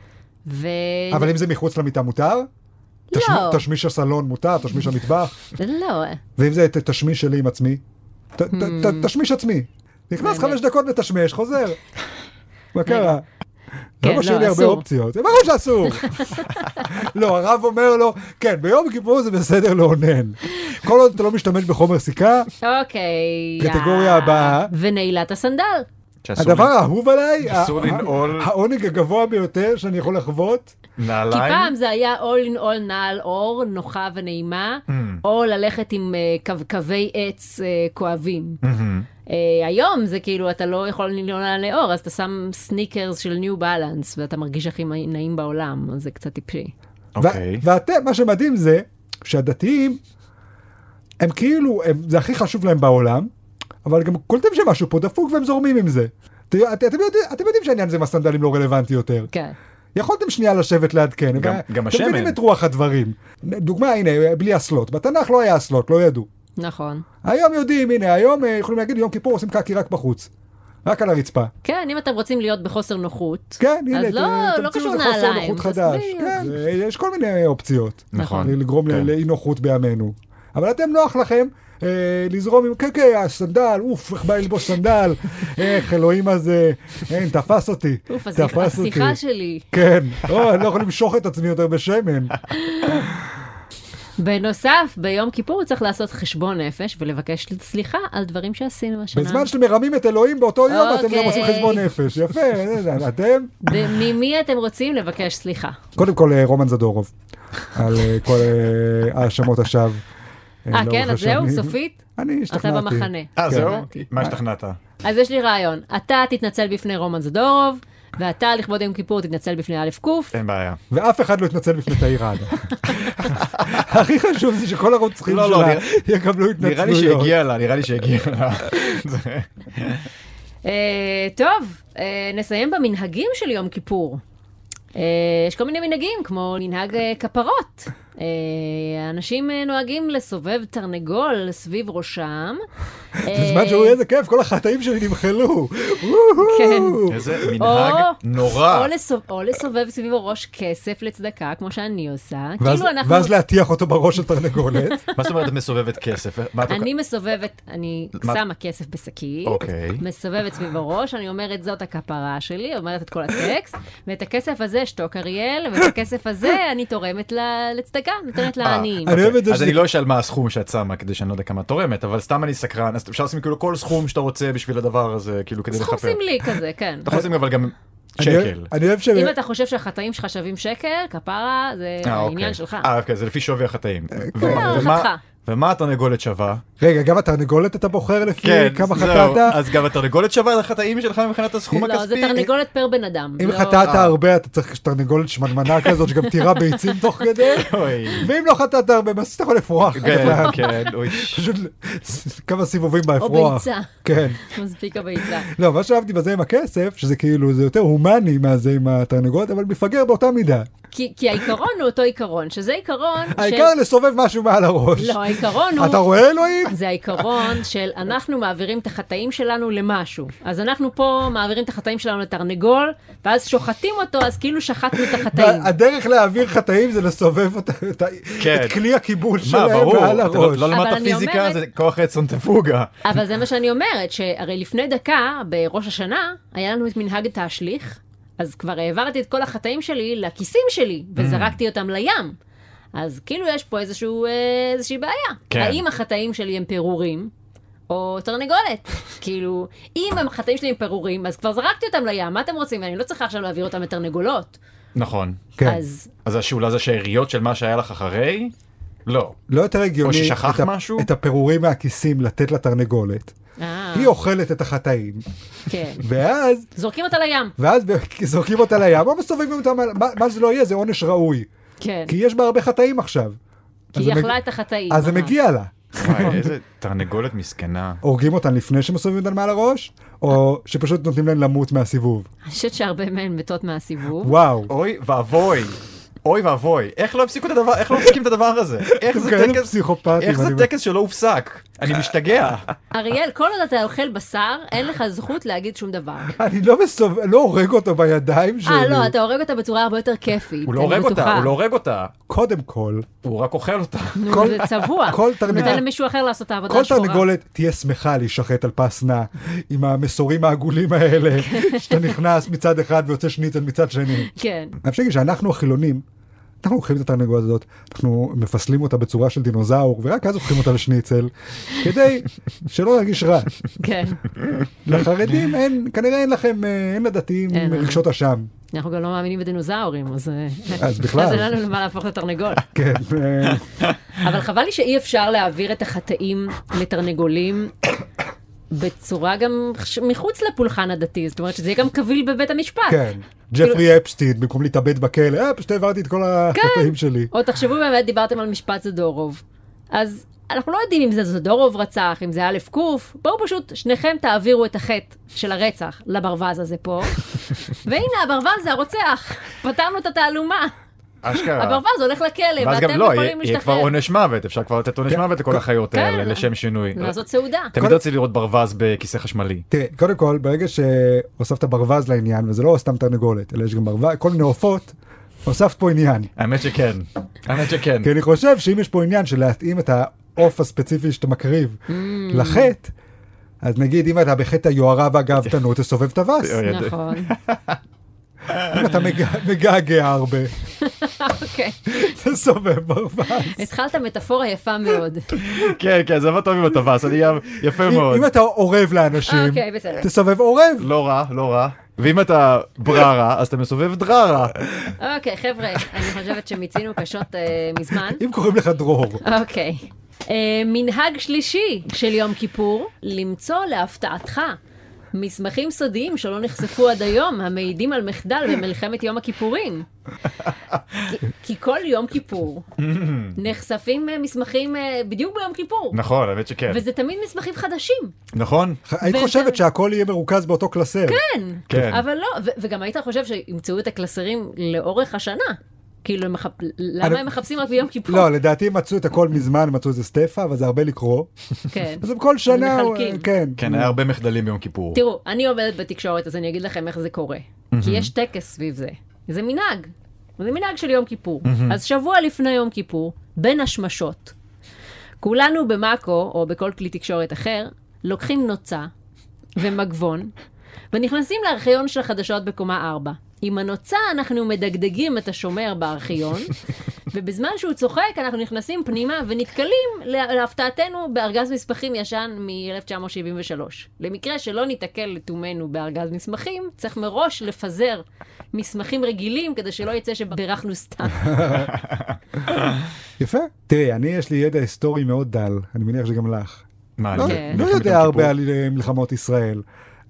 S1: ו...
S3: אבל אם זה מחוץ למיטה מותר?
S1: לא.
S3: תשמ- תשמיש הסלון מותר, תשמיש המטבח,
S1: לא,
S3: ואם זה ת- תשמיש שלי עם עצמי? ת-
S1: Hmm.
S3: ת- ת- תשמיש עצמי. נכנס
S1: באמת.
S3: חמש דקות
S1: *laughs*
S3: לתשמש, חוזר. מה קרה?
S1: כן,
S3: לא משאיר
S1: לא,
S3: לי הרבה
S1: אסור.
S3: אופציות. ברור
S1: *laughs*
S3: שאסור. לא, הרב אומר לו, כן, ביום כיפור זה בסדר לאונן. כל עוד אתה לא משתמש בחומר סיכה,
S1: אוקיי.
S3: קטגוריה
S1: יא.
S3: הבאה.
S1: ונעילת הסנדל.
S2: שאסור
S3: הדבר
S2: לי-
S3: האהוב עליי,
S2: אסור
S3: ה- ה-
S2: לנעול.
S3: העונג הגבוה ביותר שאני יכול לחוות,
S1: כי
S2: נעליים?
S1: פעם זה היה all in all נעל אור, נוחה ונעימה,
S3: Hmm.
S1: או ללכת עם אה, קווקווי עץ אה, כואבים. אה, היום זה כאילו, אתה לא יכול לנעול נעל אור, אז אתה שם סניקרס של ניו בלנס, ואתה מרגיש הכי נעים בעולם, אז זה קצת טיפשי.
S2: אוקיי.
S3: ו- ואתם, מה שמדהים זה שהדתיים, הם כאילו, הם, זה הכי חשוב להם בעולם, אבל גם קולטים שמשהו פה דפוק והם זורמים עם זה. ת- את- אתם יודעים- אתם יודעים שהעניין הזה עם הסנדלים לא רלוונטי יותר.
S1: כן.
S3: יכולתם שנייה לשבת לעדכן.
S2: גם-
S3: ו-
S2: גם
S3: אתם מבינים
S2: השמן.
S3: את רוח הדברים. דוגמה, הנה, בלי הסלוט. בתנ"ך לא היה הסלוט, לא ידעו.
S1: נכון.
S3: היום יודעים, הנה, היום אה, יכולים להגיד יום כיפור עושים קקי רק בחוץ. רק על הרצפה.
S1: כן, אם אתם רוצים להיות בחוסר נוחות.
S3: כן, הנה,
S1: אז
S3: ת-
S1: לא- לא
S3: תמציאו
S1: קשור
S3: איזה חוסר
S1: נעליים,
S3: נוחות
S1: אז
S3: חדש.
S1: בדיוק.
S3: כן, אה, יש כל מיני אופציות.
S2: נכון.
S3: לגרום
S2: כן.
S3: לאי נוחות בימינו. אבל אתם נוח לכם אה, לזרום עם, כן, כן, הסנדל, אוף, איך בא לי ללבוס סנדל,
S1: *laughs*
S3: איך אלוהים הזה, אין, תפס אותי,
S1: אוף, השיח-
S3: תפס אותי.
S1: השיחה שלי.
S3: כן, או, אני לא יכול למשוך את עצמי יותר
S1: *laughs*
S3: בשמן.
S1: בנוסף, ביום כיפור צריך לעשות חשבון נפש ולבקש סליחה על דברים שעשינו השנה.
S3: בזמן שאתם מרמים את אלוהים באותו יום, אתם גם
S1: אוקיי.
S3: עושים חשבון נפש. יפה, זה- זה- אתם,
S1: ב- ממי אתם רוצים לבקש סליחה?
S3: קודם כל אה, רומן זדורוב, על אה, כל אה, האשמות השווא.
S1: אה,
S3: לאורך
S1: כן, אז זהו,
S3: השנים.
S1: סופית?
S3: אני
S1: אתה
S3: לא השתכנעתי.
S1: במחנה.
S2: אה, זהו?
S1: הבנתי.
S2: מה השתכנעת?
S1: אז יש לי רעיון. אתה תתנצל בפני רומן זדורוב, ואתה לכבוד יום כיפור תתנצל בפני א' ק'.
S2: אין בעיה.
S3: ואף אחד לא יתנצל בפני תאיר ראדה. הכי חשוב זה שכל הרוצחים
S2: לא, לא,
S3: שלה
S2: נראה-
S3: יקבלו
S2: נראה לי
S3: התנצלויות.
S2: שהגיע לה, נראה לי שהגיע *laughs* לה. זה-
S1: אה, טוב, אה, נסיים במנהגים של יום כיפור. אה, יש כל מיני מנהגים, כמו מנהג אה, כפרות. אה, אנשים אה, נוהגים לסובב תרנגול סביב
S3: *laughs*
S1: ראשם. אה,
S3: בזמן שהוא איזה כיף, כל החטאים שלי נמחלו.
S1: כן.
S2: *laughs* איזה מנהג נורא.
S1: או, לסוב... או לסובב סביב הראש כסף לצדקה, כמו שאני עושה.
S3: ואז-
S1: כאילו אנחנו...
S3: ואז להטיח אותו בראש של
S2: *laughs*
S3: תרנגולת.
S2: מה זאת אומרת את מסובבת כסף? מה את-
S1: אני מסובבת, אני
S2: אוקיי. מה-
S1: שמה כסף בשקית,
S2: אוקיי.
S1: מסובבת סביב הראש, אני אומרת זאת הכפרה שלי, אומרת את כל הטקסט, ואת הכסף הזה שתוק אריאל, ואת הכסף הזה אני תורמת ל- לצדקה, נותנת
S2: אה,
S1: לעניים.
S3: אני אוהב את זה
S2: אז
S3: שזה-
S2: אני לא אשאל מה הסכום שאת שמה כדי שאני לא יודע כמה את תורמת, אבל סתם אני סקרן, אז אפשר לשים כאילו כל סכום שאתה רוצה בשביל הדבר הזה, כאילו כדי
S1: סכום
S2: לחפר.
S1: סמלי כזה, כן.
S2: אתה יכול לשים אבל גם
S3: אני אוהב-
S2: שקל.
S3: אני אוהב ש...
S1: אם אתה חושב שהחטאים שלך שווים שקל, כפרה זה
S2: אה,
S1: העניין
S2: אוקיי.
S1: שלך.
S2: אה, אוקיי, זה לפי שווי החטאים.
S3: אה,
S2: ומה-
S3: כן,
S1: הערכתך.
S2: ומה- ומה התרנגולת שווה? כן,
S3: רגע, גם התרנגולת אתה בוחר לפי כמה
S2: זהו.
S3: חטאת?
S2: אז גם התרנגולת שווה על החטאים שלך מבחינת הסכום הכספי?
S1: לא, זה תרנגולת פר בן אדם.
S3: אם
S1: לא-
S3: חטאת
S2: אה. הרבה,
S3: הרבה, אתה צריך תרנגולת שמנמנה כזאת שגם תירה ביצים תוך כדי. *laughs*
S2: אוי.
S3: ואם לא חטאת הרבה, אז אתה יכול לפרוח.
S2: כן, כן, אוי.
S3: אה, פשוט כמה סיבובים באפרוח.
S1: ביצה. *laughs*
S3: כן.
S1: מספיק הביצה.
S3: לא, מה שאהבתי בזה עם הכסף, שזה כאילו, זה יותר הומני מהזה עם התרנגולת, אבל מפגר באותה מידה.
S1: כי, כי העיקרון הוא אותו עיקרון, שזה עיקרון של...
S3: העיקר לסובב משהו מעל הראש.
S1: לא, העיקרון הוא...
S3: אתה רואה,
S1: *laughs*
S3: אלוהים?
S1: זה העיקרון של אנחנו מעבירים את החטאים שלנו למשהו. אז אנחנו פה מעבירים את החטאים שלנו לתרנגול, ואז שוחטים אותו, אז כאילו שחטנו את החטאים.
S3: הדרך להעביר חטאים זה לסובב אותה- את ה-
S2: כן.
S3: את כלי הקיבול
S2: מה,
S3: שלהם
S2: ברור,
S3: מעל
S2: אתה לא
S3: הראש.
S2: לא למדת
S1: אבל אני
S2: פיזיקה,
S1: אומרת-
S2: זה כוח עצם תפוגה.
S1: אבל זה מה שאני אומרת, שהרי לפני דקה, בראש השנה, היה לנו את מנהג תהשליך, אז כבר העברתי את כל החטאים שלי לכיסים שלי, וזרקתי אותם לים. אז כאילו יש פה איזשהו, אה, איזושהי בעיה.
S2: כן.
S1: האם החטאים שלי הם פירורים? או תרנגולת. *laughs* כאילו, אם החטאים שלי הם פירורים, אז כבר זרקתי אותם לים, מה אתם רוצים? אני לא צריכה עכשיו להעביר אותם לתרנגולות.
S2: נכון.
S3: כן.
S1: אז
S2: אז השאולה זה שאריות של מה שהיה לך אחרי?
S3: *laughs*
S2: לא.
S3: לא יותר הגיוני
S2: או ששכח
S3: את ה-
S2: משהו?
S3: את הפירורים מהכיסים לתת לתרנגולת.
S1: אה,
S3: היא אוכלת את החטאים,
S1: כן.
S3: ואז
S1: זורקים אותה לים.
S3: ואז ב- זורקים אותה לים, או מסובבים אותה, מעל- מה- מה שזה לא יהיה, זה עונש ראוי.
S1: כן.
S3: כי יש בה הרבה חטאים עכשיו.
S1: כי
S3: אז
S1: היא
S3: זה מג-
S1: אכלה את החטאים.
S3: אז זה
S1: ממש.
S3: מגיע לה.
S2: וואי, איזה תרנגולת מסכנה.
S3: הורגים אותן לפני שמסובבים אותן מעל הראש, או שפשוט נותנים להן למות מהסיבוב.
S1: אני חושבת שהרבה מהן מתות מהסיבוב.
S3: וואו.
S2: אוי ואבוי. אוי ואבוי, איך לא הפסיקו את הדבר, איך לא מפסיקים את הדבר הזה? איך
S3: אתם
S2: זה
S3: כאלה
S2: טקס,
S3: פסיכופטים,
S2: איך זה
S3: אני-
S2: טקס שלא הופסק? אני
S1: *laughs*
S2: משתגע.
S1: אריאל, כל עוד אתה אוכל בשר, אין לך זכות להגיד שום דבר.
S3: אני לא מסובב, לא הורג אותו בידיים שלי.
S1: אה, לא, אתה הורג אותה בצורה הרבה יותר כיפית.
S2: הוא לא
S1: אני
S2: הורג אותה,
S1: בטוחה.
S2: הוא לא הורג אותה,
S3: קודם כל,
S2: הוא רק אוכל אותה.
S1: נו,
S3: כל-
S1: זה צבוע.
S3: כל תרנגולת-
S1: נותן למישהו אחר לעשות את העבודה
S3: כל
S1: השחורה.
S3: תרנגולת תהיה שמחה להישחט על פס נע עם המסורים העגולים האלה, שאתה נכנס מצד אחד ויוצא שניצל מצד שני.
S1: כן.
S3: אני חושב שאנחנו החילונים, אנחנו לוקחים את התרנגולת הזאת, אנחנו מפסלים אותה בצורה של דינוזאור, ורק אז הופכים אותה לשניצל, כדי שלא להרגיש
S1: *laughs*
S3: רע.
S1: כן,
S3: לחרדים אין, כנראה אין לכם, אה, אין לדתיים
S1: אין, אין.
S3: רגשות אשם.
S1: אנחנו גם לא מאמינים בדינוזאורים, אז... אה,
S3: אז בכלל.
S1: אז אין לנו למה להפוך לתרנגול.
S3: כן,
S1: *laughs*
S3: אה,
S1: אבל חבל לי שאי אפשר להעביר את החטאים לתרנגולים בצורה גם ש- מחוץ לפולחן הדתי, זאת אומרת שזה יהיה גם קביל בבית המשפט.
S3: כן.
S1: כאילו-
S3: ג'פרי אפשטיין, במקום להתאבד בכלא, אה, פשוט העברתי את כל
S1: כן.
S3: החטאים שלי.
S1: או תחשבו באמת, דיברתם על משפט זדורוב. אז אנחנו לא יודעים אם זה זדורוב רצח, אם זה א' ק', בואו פשוט שניכם תעבירו את החטא של הרצח לברווז הזה
S2: *laughs*
S1: פה, והנה הברווז זה הרוצח, פתרנו את התעלומה.
S2: *laughs* אשכרה.
S1: הברווז הולך לכלא,
S2: אה. ואז
S1: ואתם
S2: גם לא, יהיה-
S1: יכולים
S2: יהיה כבר
S1: להשתחרר.
S2: עונש מוות, אפשר כבר לתת עונש מוות לכל החיות
S1: כן.
S2: האלה, לשם שינוי.
S1: לעשות סעודה.
S2: תמיד רציתי לראות ברווז בכיסא חשמלי.
S3: תראה, קודם כל, ברגע שהוספת ברווז לעניין, וזה לא סתם תרנגולת, אלא יש גם ברווז, כל מיני עופות, הוספת פה עניין.
S2: האמת שכן, האמת שכן.
S3: כי אני חושב שאם יש פה עניין של להתאים את העוף הספציפי שאתה מקריב
S1: Mm.
S3: לחטא, אז נגיד אם אתה בחטא היוהרה והגאוותנות, תסובב את הבס.
S2: אוי, ידע. *laughs*
S1: נכון,
S3: אם אתה מג- מגעגע הרבה,
S1: אוקיי.
S3: תסובב ברווז.
S1: התחלת מטאפורה יפה מאוד.
S2: כן, כן, זה עבד טוב עם הטווס, אני יפה *laughs* מאוד.
S3: אם אם אתה אורב לאנשים,
S1: אוקיי, בסדר.
S3: תסובב עורב.
S2: לא רע, לא רע. ואם אתה בררה, אז אתה מסובב דררה.
S1: אוקיי, חבר'ה, אני חושבת שמיצינו קשות אה, מזמן.
S3: אם קוראים לך דרור,
S1: אוקיי. אה, מנהג שלישי של יום כיפור, למצוא להפתעתך מסמכים סודיים שלא נחשפו עד היום, המעידים על מחדל במלחמת יום הכיפורים. כי, כי כל יום כיפור נחשפים אה, מסמכים אה, בדיוק ביום כיפור,
S2: נכון, האמת שכן.
S1: וזה תמיד מסמכים חדשים.
S2: נכון?
S3: היית
S1: ואתה-
S3: חושבת שהכל יהיה מרוכז באותו קלסר.
S1: כן,
S2: כן.
S1: אבל לא, ו- וגם היית חושב שימצאו את הקלסרים לאורך השנה. כאילו, הם מחפ... למה
S3: אני-
S1: הם מחפשים רק ביום כיפור?
S3: לא, לדעתי מצאו את הכל מזמן, מצאו איזה סטפה, אבל זה הרבה לקרוא.
S1: כן.
S3: אז הם כל שנה,
S1: מחלקים.
S3: כן.
S2: כן, היה הרבה מחדלים ביום כיפור.
S1: תראו, אני עובדת בתקשורת, אז אני אגיד לכם איך זה קורה. כי יש טקס סביב זה. זה מנהג. זה מנהג של יום כיפור. אז שבוע לפני יום כיפור, בין השמשות, כולנו במאקו, או בכל כלי תקשורת אחר, לוקחים נוצה ומגבון, ונכנסים לארכיון של החדשות בקומה 4. עם הנוצה אנחנו מדגדגים את השומר בארכיון, ובזמן שהוא צוחק אנחנו נכנסים פנימה ונתקלים לה- להפתעתנו בארגז מסמכים ישן מ-1973. למקרה שלא ניתקל לתומנו בארגז מסמכים, צריך מראש לפזר מסמכים רגילים כדי שלא יצא שבירכנו סתם.
S3: יפה. תראי, אני יש לי ידע היסטורי מאוד דל, אני מניח שגם לך.
S2: מה,
S3: לא,
S2: זה-
S1: כן.
S3: לא
S2: מלחמת
S3: יודע
S2: יום
S3: הרבה
S2: כיפור?
S3: על אה, מלחמות ישראל.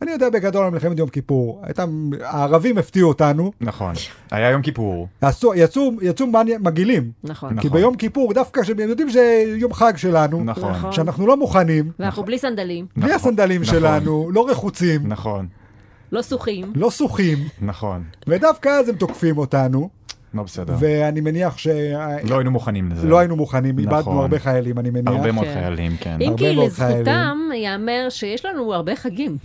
S3: אני יודע בגדול על מלחמת יום כיפור. הייתה, הערבים הפתיעו אותנו,
S2: נכון. היה יום כיפור.
S3: עשו, יצאו, יצאו מניה, מגעילים.
S1: נכון.
S3: כי
S2: נכון.
S3: ביום כיפור, דווקא שהם יודעים שזה יום חג שלנו,
S2: נכון.
S1: נכון.
S3: שאנחנו לא מוכנים,
S1: ואנחנו בלי סנדלים,
S3: בלי
S2: נכון,
S3: הסנדלים
S2: נכון.
S3: שלנו, לא רחוצים,
S2: נכון,
S1: לא שוחים.
S3: לא שוחים,
S2: נכון.
S3: ודווקא אז הם תוקפים אותנו,
S2: מה בסדר?
S3: ואני מניח שלא
S2: לא היינו מוכנים לזה.
S3: היינו מוכנים, איבדנו
S2: נכון.
S3: הרבה חיילים, אני מניח.
S2: הרבה מאוד
S1: כן.
S2: חיילים, כן.
S1: אם
S3: הרבה
S1: כי
S3: מאוד
S1: לזכותם
S3: חיילים.
S1: ייאמר שיש לנו הרבה חגים.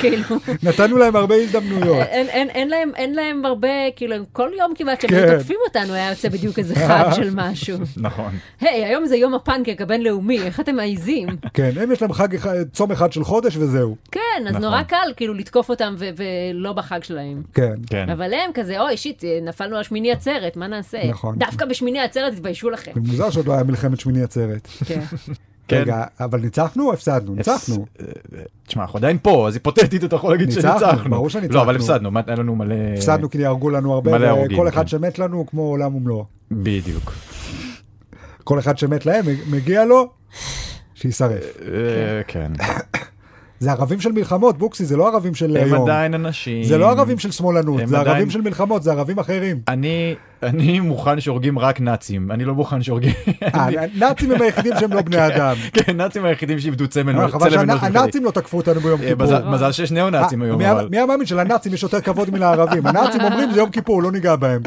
S1: כאילו,
S3: נתנו להם הרבה הזדמנויות. *laughs*
S1: אין- אין- אין להם- אין להם הרבה, כאילו, הם כל יום כמעט שהם
S3: כן.
S1: היו תוקפים אותנו היה יוצא בדיוק איזה חג של משהו.
S2: נכון.
S1: היי, היום זה יום הפנקק הבינלאומי, איך אתם מעיזים?
S3: כן, הם יש להם חג אחד, צום אחד של חודש וזהו.
S1: כן, אז
S2: נכון.
S1: נורא קל כאילו לתקוף אותם ו- ולא בחג שלהם.
S3: כן.
S2: כן.
S1: אבל הם כזה, אוי, שיט, אה, נפלנו על שמיני עצרת, מה נעשה?
S3: נכון.
S1: דווקא בשמיני עצרת תתביישו לכם.
S3: *laughs* זה מוזר שעוד לא היה מלחמת שמיני עצרת.
S1: כן.
S2: כן. אה,
S3: רגע, אבל ניצחנו או הפסדנו? ניצחנו.
S2: תשמע, אנחנו עדיין פה, אז היפותטית אתה יכול להגיד
S3: ניצחנו,
S2: שניצחנו.
S3: ברור שניצחנו.
S2: לא, אבל הפסדנו, מה- היה לנו מלא...
S3: הפסדנו כי הרגו לנו הרבה,
S2: מלא הרוגים,
S3: וכל אחד
S2: כן.
S3: שמת לנו כמו עולם ומלואו.
S2: בדיוק.
S3: כל אחד שמת להם, מגיע לו, שיישרף.
S2: אה,
S3: *laughs*
S2: כן.
S3: זה ערבים של מלחמות, בוקסי, זה לא ערבים של
S2: הם
S3: היום.
S2: עדיין אנשים.
S3: זה לא ערבים של שמאלנות,
S2: הם
S3: זה
S2: עדיין-
S3: ערבים של מלחמות, זה ערבים אחרים.
S2: אני, אני מוכן שהורגים רק נאצים, אני לא מוכן שהורגים...
S3: אה, הנאצים הם היחידים שהם לא בני אדם.
S2: *laughs* כן, הנאצים היחידים שאיבדו צמל
S3: אבל חבל
S2: צלם אנוש בכלל.
S3: שהנאצים לא תקפו אותנו ביום
S2: אה,
S3: כיפור.
S2: מזל- מזל שיש ניאו-נאצים
S3: אה,
S2: היום,
S3: מי-
S2: אבל...
S3: מי היה מאמין שלנאצים יש יותר כבוד מלערבים? הנאצים אומרים זה יום כיפור, לא ניגע בהם.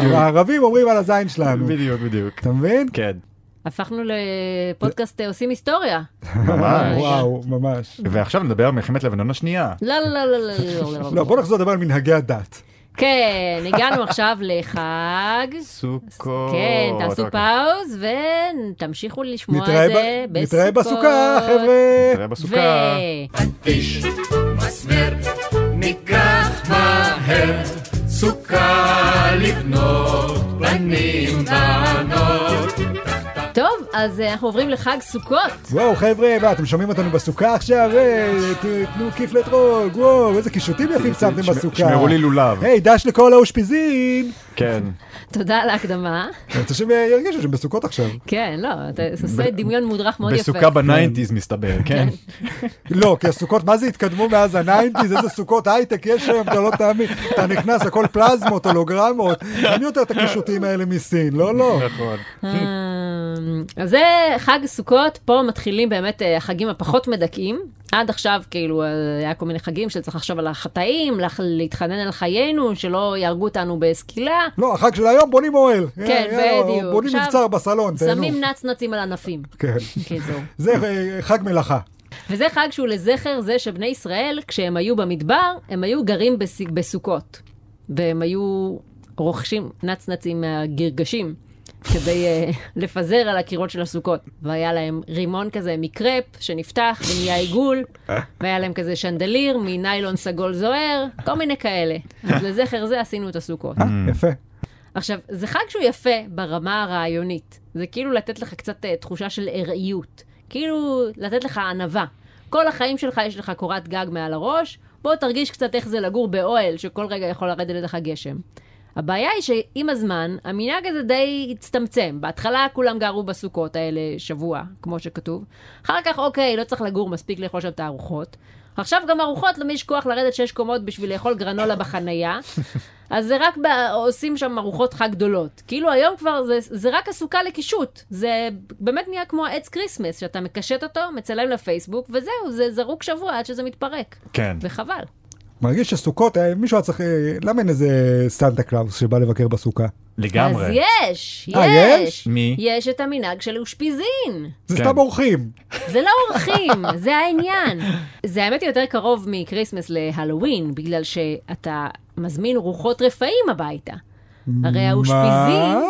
S3: הערבים אומרים על הזין שלנו.
S2: אה, בדיוק, בדיוק.
S3: אתה מבין?
S2: כן,
S1: הפכנו לפודקאסט אה, עושים היסטוריה.
S2: *laughs* ממש.
S3: אה, וואו, ממש.
S2: ועכשיו נדבר על מלחמת לבנון השנייה.
S1: לא, לא, לא, לא, לא, לא,
S3: לא,
S1: לא.
S3: בוא נחזור לדבר על מנהגי הדת.
S1: כן, הגענו עכשיו לחג.
S2: סוכות.
S1: כן, תעשו
S2: אוקיי.
S1: פאוז ותמשיכו לשמוע את
S3: נתראה
S1: זה
S3: ב-
S1: בסוכות.
S3: נתראה בסוכה, חבר'ה.
S2: נתראה אוקיי. בסוכה.
S1: ו...
S5: איש מסמר, ניקח מהר סוכה לבנות, בנים בנות.
S1: טוב, אז אה, אנחנו עוברים לחג סוכות.
S3: וואו, חבר'ה, מה, אתם שומעים אותנו בסוכה עכשיו? היי, ת- תנו כיף לטרוג, וואו, איזה קישוטים יפים שמתם
S2: שמ-
S3: בסוכה.
S2: שמרו לי לולב.
S3: היי, דש לכל האושפיזין.
S2: כן.
S1: תודה על ההקדמה.
S3: אני רוצה שהם ירגישו שהם בסוכות עכשיו.
S1: כן, לא, אתה עושה דמיון מודרך מאוד יפה.
S2: בסוכה בניינטיז מסתבר, כן.
S3: לא, כי הסוכות, מה זה התקדמו מאז הניינטיז, איזה סוכות הייטק יש היום, אתה לא תאמין. אתה נכנס, הכל פלזמות, הולוגרמות. אין יותר את הקישוטים האלה מסין, לא, לא.
S2: נכון.
S1: אה, אז זה חג סוכות, פה מתחילים באמת אה, החגים הפחות מדכאים. עד עכשיו כאילו אה, היה כל מיני חגים שצריך לחשוב על החטאים, לח- להתחנן על חיינו, שלא יהרגו אותנו בסקילה.
S3: לא, החג של היום בונים אוהל. אה,
S1: כן,
S3: יאללה,
S1: בדיוק.
S3: בונים
S1: עכשיו
S3: מבצר בסלון, תהנו.
S1: שמים נצנצים על ענפים.
S3: כן.
S1: כזו.
S3: זה אה, חג מלאכה.
S1: וזה חג שהוא לזכר זה שבני ישראל, כשהם היו במדבר, הם היו גרים בס... בסוכות. והם היו רוכשים נצנצים מהגרגשים, כדי אה, *laughs* לפזר על הקירות של הסוכות. והיה להם רימון כזה מקרפ שנפתח ונהיה עיגול, והיה להם כזה שנדליר מניילון סגול זוהר, כל מיני כאלה. אז לזכר זה עשינו את הסוכות.
S3: אה,
S2: Mm.
S3: יפה.
S1: עכשיו, זה חג שהוא יפה ברמה הרעיונית. זה כאילו לתת לך קצת אה, תחושה של ארעיות. כאילו לתת לך ענווה. כל החיים שלך יש לך קורת גג מעל הראש, בוא תרגיש קצת איך זה לגור באוהל, שכל רגע יכול לרדת לך גשם. הבעיה היא שעם הזמן, המנהג הזה די הצטמצם. בהתחלה כולם גרו בסוכות האלה שבוע, כמו שכתוב. אחר כך, אוקיי, לא צריך לגור, מספיק לאכול שם את הארוחות. עכשיו גם ארוחות, למי יש כוח לרדת שש קומות בשביל לאכול גרנולה בחנייה. אז זה רק ב- עושים שם ארוחות חג גדולות. כאילו היום כבר זה, זה רק הסוכה לקישוט. זה באמת נהיה כמו העץ כריסמס, שאתה מקשט אותו, מצלם לפייסבוק, וזהו, זה זרוק שבוע עד שזה מתפרק.
S2: כן.
S1: וחבל.
S3: מרגיש שסוכות, אה, מישהו היה צריך... אה, למה אין איזה סנטה קלאוס שבא לבקר בסוכה?
S2: לגמרי.
S1: אז יש,
S3: אה,
S1: יש.
S3: יש?
S2: מי?
S1: יש את המנהג של אושפיזין.
S3: זה
S2: כן.
S3: סתם אורחים.
S1: זה לא אורחים, זה העניין. זה האמת היא יותר קרוב מקריסמס להלואוין, בגלל שאתה מזמין רוחות רפאים הביתה. הרי האושפיזין...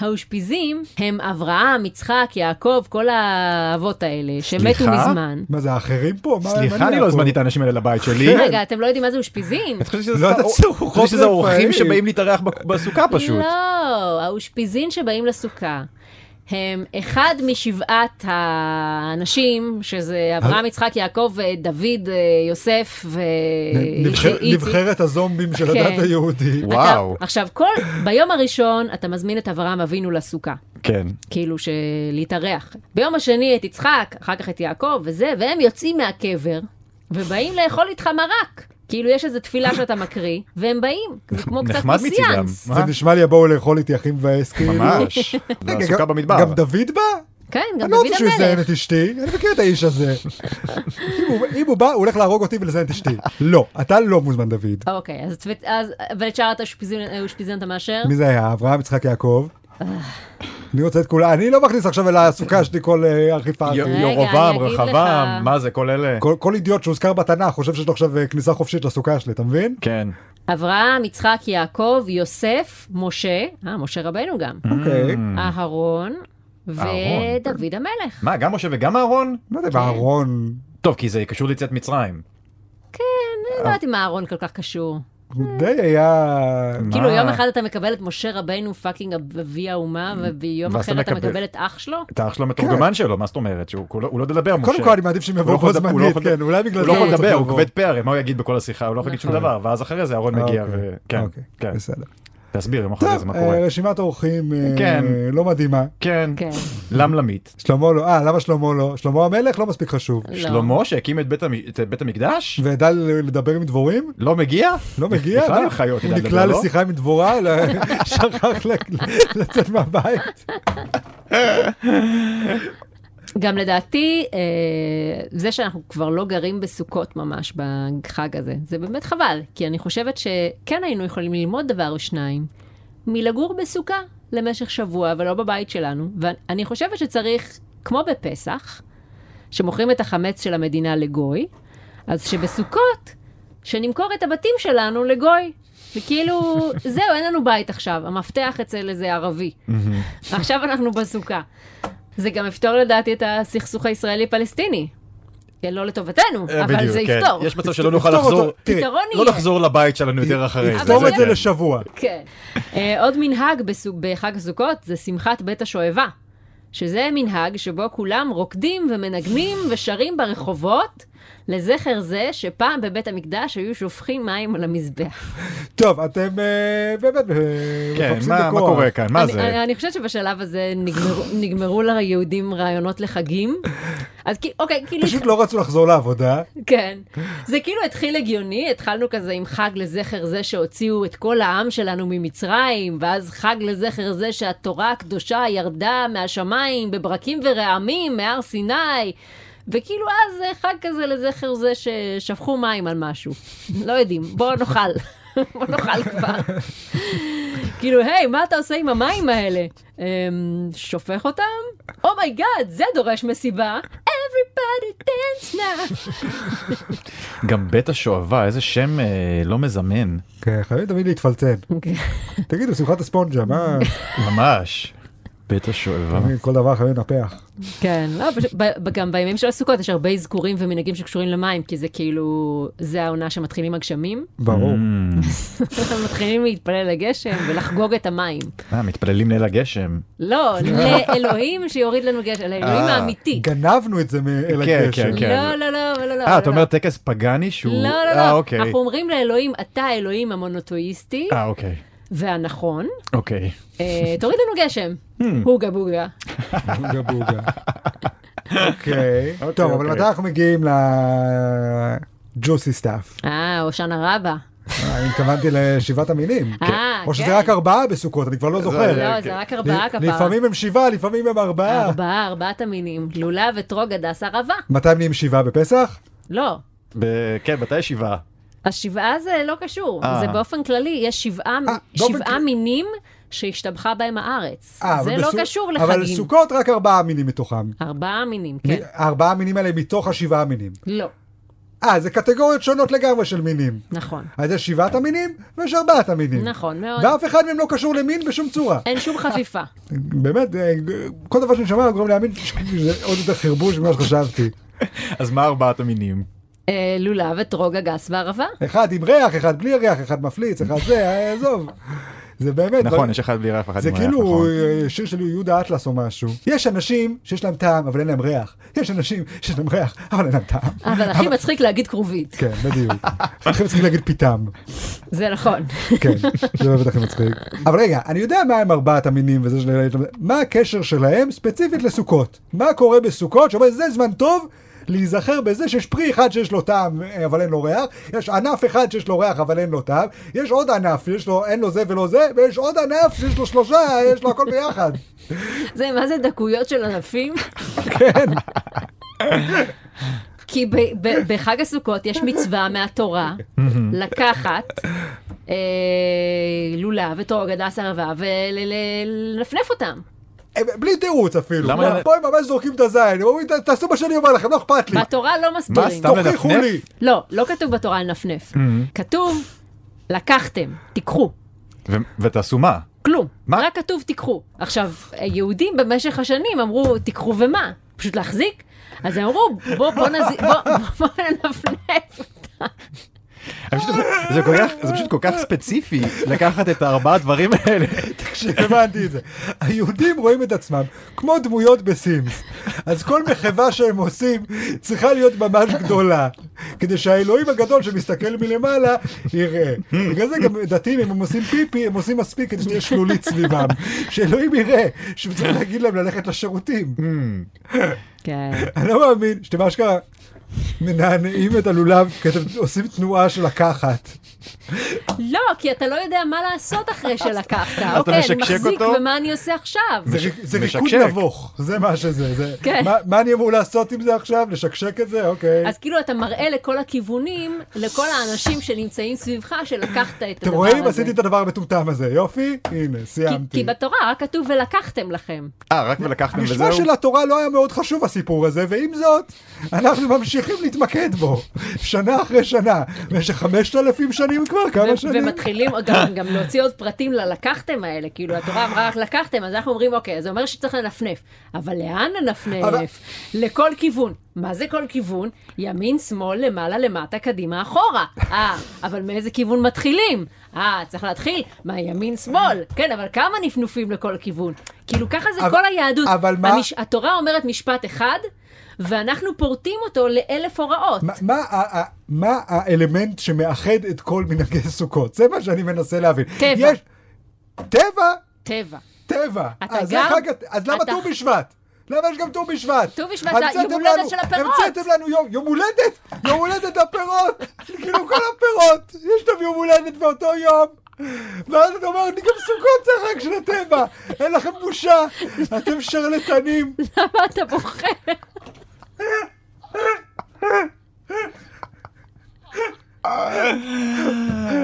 S1: האושפיזים הם אברהם, יצחק, יעקב, כל האבות האלה, שמתו
S2: סליחה?
S1: מזמן.
S3: מה זה האחרים פה? מה- מה
S2: סליחה, אני
S3: נהיה
S2: לא
S3: פה?
S2: הזמנתי את האנשים האלה לבית שלי.
S1: רגע, אתם לא יודעים מה זה אושפיזין?
S2: את חושבת שזה
S3: לא,
S2: סתם-
S3: אתה
S2: או-
S3: צריך
S2: אני חושב
S3: רוחות
S2: שזה
S3: רפאים.
S2: אורחים שבאים להתארח בק- בסוכה פשוט.
S1: לא, האושפיזין שבאים לסוכה. הם אחד משבעת האנשים, שזה אברהם, יצחק, יעקב, אה, דוד, אה, יוסף ו...
S3: נבחר-
S1: אה, איציק.
S3: נבחרת הזומבים של
S1: כן.
S3: הדת היהודית.
S1: אתה-
S2: וואו.
S1: עכשיו, כל... ביום הראשון אתה מזמין את אברהם אבינו לסוכה.
S2: כן.
S1: כאילו שלהתארח. ביום השני את יצחק, אחר כך את יעקב וזה, והם יוצאים מהקבר ובאים לאכול איתך מרק. כאילו יש איזו תפילה שאתה מקריא, והם באים, זה כמו קצת
S2: נחמד מצידם.
S1: מסיאנס. *laughs*
S2: מה?
S3: זה נשמע לי הבואו לאכול איתי אחים ואס כאילו.
S2: ממש. זה
S3: רגע,
S2: הסוכה
S3: גם-
S2: במדבר.
S3: גם דוד בא?
S1: כן, גם
S3: אני לא
S1: דוד
S3: רוצה שהוא יזיין
S1: המלך.
S3: את אשתי, אני מכיר את
S1: *laughs*
S3: האיש הזה. אם הוא- אם הוא בא, הוא הולך להרוג אותי ולזיין את אשתי. לא, אתה לא מוזמן, דוד.
S1: אוקיי, אז צוות- אז- אבל את שאר האושפיזין אתה מאשר?
S3: מי זה היה? אברהם יצחק יעקב?
S1: אה.
S3: אני רוצה את כולם, אני לא מכניס עכשיו אל הסוכה שלי כל אה, ארכיפה.
S2: י-
S1: רגע,
S2: ירובעם,
S1: אני אגיד
S2: רחבעם,
S1: לך.
S2: מה זה, כל אלה?
S3: כל- כל אידיוט שהוזכר בתנ"ך חושב שיש לו עכשיו אה, כניסה חופשית לסוכה שלי, אתה מבין?
S2: כן.
S1: אברהם, יצחק, יעקב, יוסף, משה, אה, משה רבנו גם,
S3: אוקיי.
S1: אהרון, ודוד המלך.
S2: מה, גם משה וגם אהרון?
S3: לא
S1: אוקיי.
S3: יודע, בארון,
S2: טוב, כי זה קשור ליציאת מצרים.
S1: אני לא יודעת אם אהרון כל כך קשור.
S3: הוא
S1: אה.
S3: די היה...
S1: כאילו, יום אחד אתה מקבל את משה רבנו פאקינג אבי האומה, וביום
S2: ואז אתה
S1: אחר אתה
S2: מקבל.
S1: מקבל את אח שלו?
S2: אתה אח שלו
S1: כן.
S2: מתורגמן שלו, מה זאת אומרת? שהוא כולו- הוא לא יודע לדבר, משה.
S3: קודם כל, אני מעדיף שהם
S2: הוא לא
S3: יבואו
S2: יכול
S3: בו
S2: לדבר- הוא
S3: זמנית,
S2: לא יכול-
S3: כן, אולי בגלל
S2: הוא
S3: זה
S2: לא יכול
S3: צריך
S2: לדבר, הוא
S3: לבוא.
S2: כבד פה הרי, מה הוא יגיד בכל השיחה? הוא לא יכול להגיד שום
S1: נכון.
S2: דבר, ואז אחרי זה אהרון מגיע,
S3: אוקיי.
S2: ו- כן,
S3: אוקיי,
S2: כן.
S3: בסדר.
S2: תסביר יום אחרי זה
S3: טוב,
S2: מה
S3: אה,
S2: קורה.
S3: רשימת אורחים אה,
S2: כן.
S3: לא מדהימה.
S2: כן,
S1: כן.
S2: למלמית.
S3: שלמה לא, אה, למה שלמה לא? שלמה המלך לא מספיק חשוב.
S1: לא.
S2: שלמה שהקים את בית המ- את בית המקדש?
S3: וידע ל- לדבר עם דבורים?
S2: לא מגיע?
S3: לא מגיע?
S2: בכלל
S3: מה?
S2: עם חיות,
S3: הוא
S2: ידע
S3: נקלע
S2: לדבר, לא?
S3: לשיחה עם דבורה,
S2: *laughs*
S3: ל- שכח ל- לצאת מהבית.
S1: גם לדעתי, אה, זה שאנחנו כבר לא גרים בסוכות ממש בחג הזה, זה באמת חבל, כי אני חושבת שכן היינו יכולים ללמוד דבר או שניים מלגור בסוכה למשך שבוע, ולא בבית שלנו. ואני חושבת שצריך, כמו בפסח, שמוכרים את החמץ של המדינה לגוי, אז שבסוכות, שנמכור את הבתים שלנו לגוי. וכאילו, *laughs* זהו, אין לנו בית עכשיו, המפתח אצל איזה ערבי. עכשיו אנחנו בסוכה. זה גם יפתור לדעתי את הסכסוך הישראלי-פלסטיני. כן, לא לטובתנו,
S2: אה,
S1: אבל
S2: בדיוק,
S1: זה
S2: כן.
S1: יפתור.
S2: יש מצב שלא נוכל
S3: יפתור אותו.
S2: לחזור,
S3: תראי,
S1: פתרון
S2: לא
S1: יהיה.
S2: לחזור לבית שלנו יותר אחרי זה.
S3: יפתור את זה
S2: כן.
S3: לשבוע.
S1: כן. אה, עוד מנהג בסו- בחג הסוכות זה שמחת בית השואבה, שזה מנהג שבו כולם רוקדים ומנגנים ושרים ברחובות לזכר זה שפעם בבית המקדש היו שופכים מים על המזבח.
S3: טוב, אתם אה, באמת אה,
S2: כן,
S3: מחפשים
S2: מה מה
S3: בכוח.
S2: קורה כאן? מה
S1: אני,
S2: זה?
S1: אני, אני חושבת שבשלב הזה נגמרו, נגמרו ליהודים רעיונות לחגים. אז כי- אוקיי, כאילו...
S3: פשוט לא רצו לחזור לעבודה.
S1: כן. זה כאילו התחיל הגיוני, התחלנו כזה עם חג לזכר זה שהוציאו את כל העם שלנו ממצרים, ואז חג לזכר זה שהתורה הקדושה ירדה מהשמיים בברקים ורעמים מהר סיני. וכאילו אז זה חג כזה לזכר זה ששפכו מים על משהו. לא יודעים, בוא נאכל. *laughs* בוא נאכל כבר. כאילו, היי, מה אתה עושה עם המים האלה? אמ, שופך אותם? אומייגאד, זה דורש מסיבה. Everybody dance now.
S2: גם בית השואבה, איזה שם אה, לא מזמן.
S3: כן, חייבים תמיד להתפלצן. תגידו, שמחת הספונג'ה,
S2: *laughs*
S3: מה?
S2: ממש. בית השואבה.
S3: תמיד כל דבר חייבים לנפח.
S1: כן, לא, פשוט, ב- ב- גם בימים של הסוכות יש הרבה אזכורים ומנהגים שקשורים למים, כי זה כאילו, זה העונה שמתחילים הגשמים,
S3: ברור.
S1: *laughs*
S2: Mm.
S1: מתחילים להתפלל לגשם ולחגוג את המים.
S2: אה, מתפללים ליל הגשם. *laughs*
S1: לא, לאלוהים שיוריד לנו גשם, לאלוהים
S2: אה,
S1: האמיתי.
S3: גנבנו את זה מאל
S2: כן,
S3: הגשם.
S2: כן, כן.
S1: לא, לא, לא, לא, לא, לא.
S2: אה, אתה
S1: לא.
S2: אומר טקס פגאני שהוא...
S1: לא, לא,
S2: אה,
S1: לא.
S2: אוקיי.
S1: אנחנו אומרים לאלוהים, אתה האלוהים המונותואיסטי,
S2: אה, אוקיי.
S1: והנכון,
S2: אוקיי.
S1: אה, תוריד לנו גשם.
S2: Hmm.
S1: הוגה בוגה.
S3: בוגה בוגה. אוקיי.
S2: אוקיי,
S3: טוב, אבל
S2: אוקיי.
S3: מתי אנחנו מגיעים לג'וסי סטאף?
S1: אה, הושענא רבה.
S3: אה, אני התכוונתי לשבעת המינים.
S1: אה,
S3: או שזה
S1: כן.
S3: רק ארבעה בסוכות, אני כבר לא
S2: אה,
S3: זוכר.
S1: לא,
S2: אוקיי.
S1: זה רק ארבעה
S3: ל-
S1: כפרה.
S3: לפעמים הם שבעה, לפעמים הם ארבעה.
S1: ארבעה, ארבעת המינים. לולב, אתרוג, הדס, ערבה.
S3: מתי הם נהיים שבעה בפסח?
S1: לא.
S2: ב- כן, מתי הישיבה?
S1: השבעה זה לא קשור,
S2: אה.
S1: זה באופן כללי, יש שבעה,
S3: אה, באופן
S1: שבעה
S3: כללי.
S1: מינים שהשתבחה בהם הארץ.
S3: אה, אבל
S1: זה לא
S3: בסוכ-
S1: קשור
S3: אבל
S1: לחגים.
S3: סוכות רק ארבעה מינים מתוכם.
S1: ארבעה מינים, כן.
S3: ארבעה מינים האלה מתוך השבעה מינים.
S1: לא,
S3: אה, זה קטגוריות שונות לגמרי של מינים.
S1: נכון.
S3: אז יש שבעת המינים ויש ארבעת המינים.
S1: נכון מאוד.
S3: ואף אחד מהם לא קשור למין בשום צורה.
S1: אין
S3: *laughs*
S1: שום חפיפה.
S3: באמת, אה, כל דבר שאני שומע גורם להאמין שזה עוד יותר חרבוש ממה שחשבתי.
S2: אז מה ארבעת המינים?
S1: אה, לולב, אתרוג, הגס וערבה.
S3: אחד עם ריח, אחד בלי ריח, אחד מפליץ, אחד זה, אה, עזוב. זה באמת,
S2: נכון, יש אחד בלי ריח ואחד
S3: זה
S2: עם ריח,
S3: כאילו
S2: נכון.
S3: אה, שיר של יהודה אטלס או משהו. יש אנשים שיש להם טעם אבל אין להם ריח. יש אנשים שיש להם ריח אבל אין להם טעם. *laughs*
S1: אבל הכי מצחיק להגיד כרובית.
S3: כן,
S2: *laughs*
S3: בדיוק. לכן צריכים להגיד פיתם.
S1: זה נכון.
S3: כן, זה באמת הכי מצחיק. אבל רגע, אני יודע מה הם ארבעת המינים וזה של... מה הקשר שלהם ספציפית לסוכות? מה קורה בסוכות שאומר זה זמן טוב להיזכר בזה שיש פרי אחד שיש לו טעם אה, אבל אין לו ריח, יש ענף אחד שיש לו ריח אבל אין לו טעם, יש עוד ענף שיש לו, אין לו זה ולא זה, ויש עוד ענף שיש לו שלושה, יש לו הכל ביחד.
S1: זה מה זה דקויות של ענפים?
S3: כן,
S1: כי ב- ב- בחג הסוכות יש מצווה מהתורה לקחת אה, לולב ותור גדס ערבה ולנפנף אותם.
S3: אה, בלי תירוץ אפילו.
S2: למה- לא-
S3: פה הם ממש זורקים את הזין, הם אומרים, "ת- תעשו מה שאני אומר לכם, לא אכפת לי.
S1: בתורה לא
S2: מה
S1: מסבירים.
S2: סתם Mm-hmm.
S3: תוכיחו
S2: לנפנף?
S3: לי.
S1: לא, לא כתוב בתורה לנפנף. כתוב, לקחתם, תיקחו.
S2: נכון. ו- ותעשו מה?
S1: כלום.
S2: מה?
S1: רק כתוב תיקחו. עכשיו, יהודים במשך השנים אמרו, תיקחו ומה? פשוט להחזיק? אז הם אמרו, בוא, בוא, נז... בוא, בוא ננפנף.
S2: אני פשוט- זה כל כך- זה פשוט כל כך ספציפי לקחת את הארבעה הדברים האלה.
S3: הבנתי את זה. היהודים רואים את עצמם כמו דמויות בסימס. אז כל מחווה שהם עושים צריכה להיות ממש גדולה, כדי שהאלוהים הגדול שמסתכל מלמעלה יראה. בגלל זה גם דתיים, אם הם עושים פיפי, הם עושים מספיק כדי שתהיה שלולית סביבם. שאלוהים יראה, שהוא צריך להגיד להם ללכת לשירותים.
S1: כן.
S3: אני לא מאמין שאתם אשכרה מנענעים את הלולב, כי אתם עושים תנועה של לקחת.
S1: *laughs* לא, כי אתה לא יודע מה לעשות אחרי שלקחת.
S2: אתה
S1: אוקיי, אני
S2: משקשק
S1: מחזיק,
S2: אותו?
S1: ומה אני עושה עכשיו?
S3: זה
S2: מש-
S3: ריק- זה ריקוד
S2: משקשק.
S3: נבוך, זה מה שזה. זה-
S1: כן.
S3: מה- מה אני אמור לעשות עם זה עכשיו? לשקשק את זה? אוקיי.
S1: אז כאילו אתה מראה לכל הכיוונים, לכל האנשים שנמצאים סביבך, שלקחת את הדבר הזה.
S3: אתם רואים? עשיתי את הדבר המטומטם הזה. יופי? הנה,
S1: כי, כי
S3: סיימתי.
S1: בתורה רק כתוב ולקחתם לכם.
S2: אה, רק ולקחתם וזהו?
S3: בשמה של התורה לא היה מאוד חשוב הסיפור הזה, ועם זאת, אנחנו ממשיכים להתמקד בו. שנה אחרי שנה. במשך 5,000 שנים כבר, כמה
S1: ו-
S3: שנים?
S1: ומתחילים גם, גם להוציא עוד פרטים ללקחתם האלה, כאילו התורה אמרה רק לקחתם, אז אנחנו אומרים אוקיי, זה אומר שצריך לנפנף. אבל לאן ננפנף?
S3: אבל-
S1: לכל כיוון. מה זה כל כיוון? ימין, שמאל, למעלה, למטה, קדימה, אחורה. אה, אבל מאיזה כיוון מתחילים? אה, צריך להתחיל מהימין, שמאל. כן, אבל כמה נפנופים לכל כיוון? כאילו ככה זה
S3: אבל-
S1: כל היהדות.
S3: אבל מה-
S1: המש... התורה אומרת משפט אחד, ואנחנו פורטים אותו לאלף הוראות.
S3: מה- מה ה- ה- מה האלמנט שמאחד את כל מנהגי סוכות? זה מה שאני מנסה להבין.
S1: טבע.
S3: יש- טבע?
S1: טבע.
S3: טבע.
S1: אתה
S3: אה, זה
S1: גם-
S3: חג הת- אז למה
S1: אתה-
S3: ט"ו בשבט? למה יש גם ט"ו בשבט?
S1: ט"ו בשבט זה
S3: המצאתם
S1: יום הולדת
S3: לנו-
S1: של הפירות.
S3: המצאתם לנו יום, יום הולדת, יום הולדת הפירות. כאילו כל הפירות, יש להם יום הולדת באותו יום. ואז אתה אומר, אני גם סוכות זה חג של הטבע. אין לכם בושה, אתם שרלטנים.
S1: למה אתה בוכה?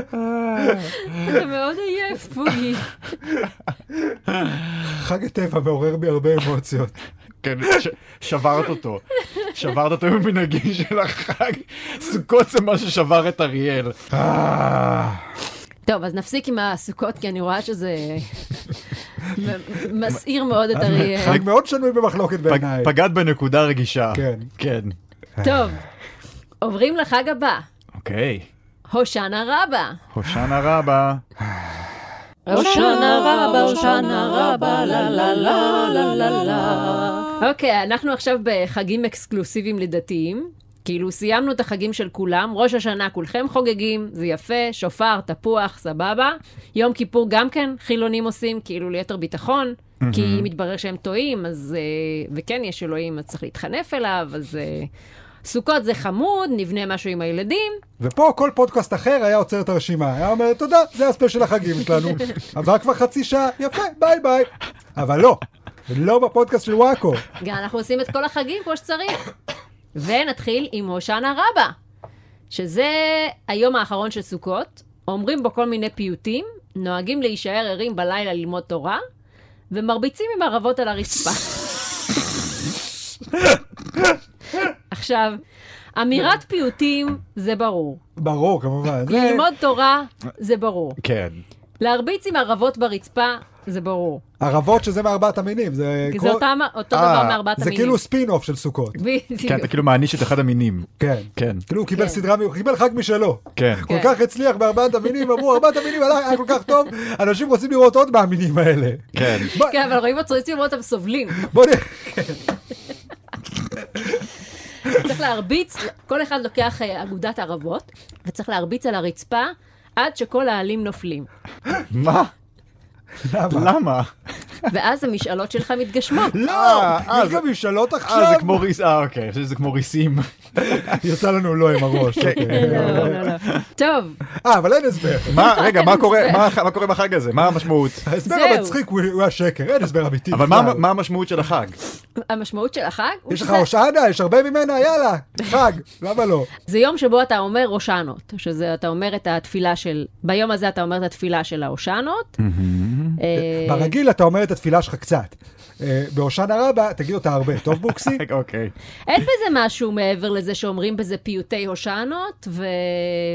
S1: אתה מאוד עייף, בוגי.
S3: חג הטבע מעורר בי הרבה אמוציות.
S2: כן, ש- שברת אותו. שברת אותו במנהגים של החג. סוכות זה מה ששבר את אריאל.
S3: אה,
S1: טוב, אז נפסיק עם הסוכות, כי אני רואה שזה מ- מסעיר מאוד את אריאל.
S3: חג מאוד שנוי במחלוקת
S2: פג-
S3: בעיניי.
S2: פגעת בנקודה רגישה.
S3: כן.
S2: כן.
S1: טוב, עוברים לחג הבא,
S2: אוקיי.
S1: הושענא רבה.
S2: הושענא רבה.
S1: הושענא רבה, הושענא רבה, לה לה לה לה לה לה. אוקיי, אנחנו עכשיו בחגים אקסקלוסיביים לדתיים. כאילו סיימנו את החגים של כולם, ראש השנה כולכם חוגגים, זה יפה, שופר, תפוח, סבבה. יום כיפור גם כן חילונים עושים, כאילו ליתר ביטחון, כי אם מתברר שהם טועים, אז... אה, וכן יש אלוהים, אז צריך להתחנף אליו, אז... אה, סוכות זה חמוד, נבנה משהו עם הילדים.
S3: ופה כל פודקאסט אחר היה עוצר את הרשימה, היה אומר, תודה, זה הספיישל החגים
S1: *laughs*
S3: שלנו. עבר כבר חצי שעה, יפה, ביי ביי. אבל לא, לא בפודקאסט של וואקו.
S1: גם אנחנו עושים את כל החגים כמו שצריך. ונתחיל עם הושענא רבה, שזה היום האחרון של סוכות, אומרים בו כל מיני פיוטים, נוהגים להישאר ערים בלילה ללמוד תורה, ומרביצים עם ערבות על הרצפה. עכשיו, אמירת פיוטים זה ברור,
S3: ברור, כמובן. זה-
S1: ללמוד תורה זה ברור,
S2: כן.
S1: להרביץ עם ערבות ברצפה זה ברור,
S3: ערבות שזה מארבעת המינים, זה...
S1: כי
S3: כמו-
S1: זה אותם- אותו דבר מארבעת
S3: זה
S1: המינים.
S3: כאילו ספין אוף של סוכות.
S2: כן,
S1: *laughs* בדיוק.
S2: אתה כאילו מעניש את אחד המינים.
S3: כן.
S2: כן.
S3: כאילו הוא קיבל
S1: כן.
S3: סדרה, הוא קיבל חג משלו.
S2: כן.
S1: כן.
S3: כל כך הצליח בארבעת המינים, אמרו ארבעת המינים הלך, היה כל כך טוב, אנשים רוצים לראות עוד מהמינים האלה.
S2: כן.
S3: בוא-
S1: כן, אבל רואים אותו, רוצים לראות אותם סובלים.
S3: בוא נראה.
S1: צריך להרביץ, כל אחד לוקח אה, אגודת ערבות, וצריך להרביץ על הרצפה עד שכל העלים נופלים.
S2: מה?
S3: למה?
S2: למה?
S1: ואז המשאלות שלך מתגשמות.
S3: לא,
S2: אה, אה,
S3: יש
S2: זה-
S3: גם משאלות עכשיו.
S2: אה, זה כמו ריס... אה, אוקיי, אני חושב שזה כמו ריסים.
S3: *laughs* יצא לנו לא עם הראש.
S2: כן.
S3: אוקיי.
S1: לא, לא, לא. טוב,
S3: אה, אבל אין
S1: *laughs*
S3: הסבר.
S2: *laughs* מה, רגע, מה קורה
S1: זה-
S2: מה הח- מה קורה בחג הזה? מה *laughs* המשמעות?
S3: ההסבר
S1: זהו.
S3: המצחיק הוא הוא השקר, אין הסבר אמיתי.
S2: אבל מה-
S3: בכלל.
S2: מה המשמעות של החג?
S1: המשמעות של החג הוא
S3: יש לך
S1: שזה-
S3: הושענא, יש הרבה ממנה, יאללה, חג, למה לא?
S1: זה יום שבו אתה אומר הושענות, שזה אתה אומר את התפילה של, ביום הזה אתה אומר את התפילה של ההושענות. אה,
S3: ברגיל אתה אומר את התפילה שלך קצת. אה, בהושענא רבה, תגיד אותה הרבה, טוב בוקסי?
S2: *laughs* רגע, *laughs* אוקיי.
S1: אין בזה משהו מעבר לזה שאומרים בזה פיוטי הושענות ו...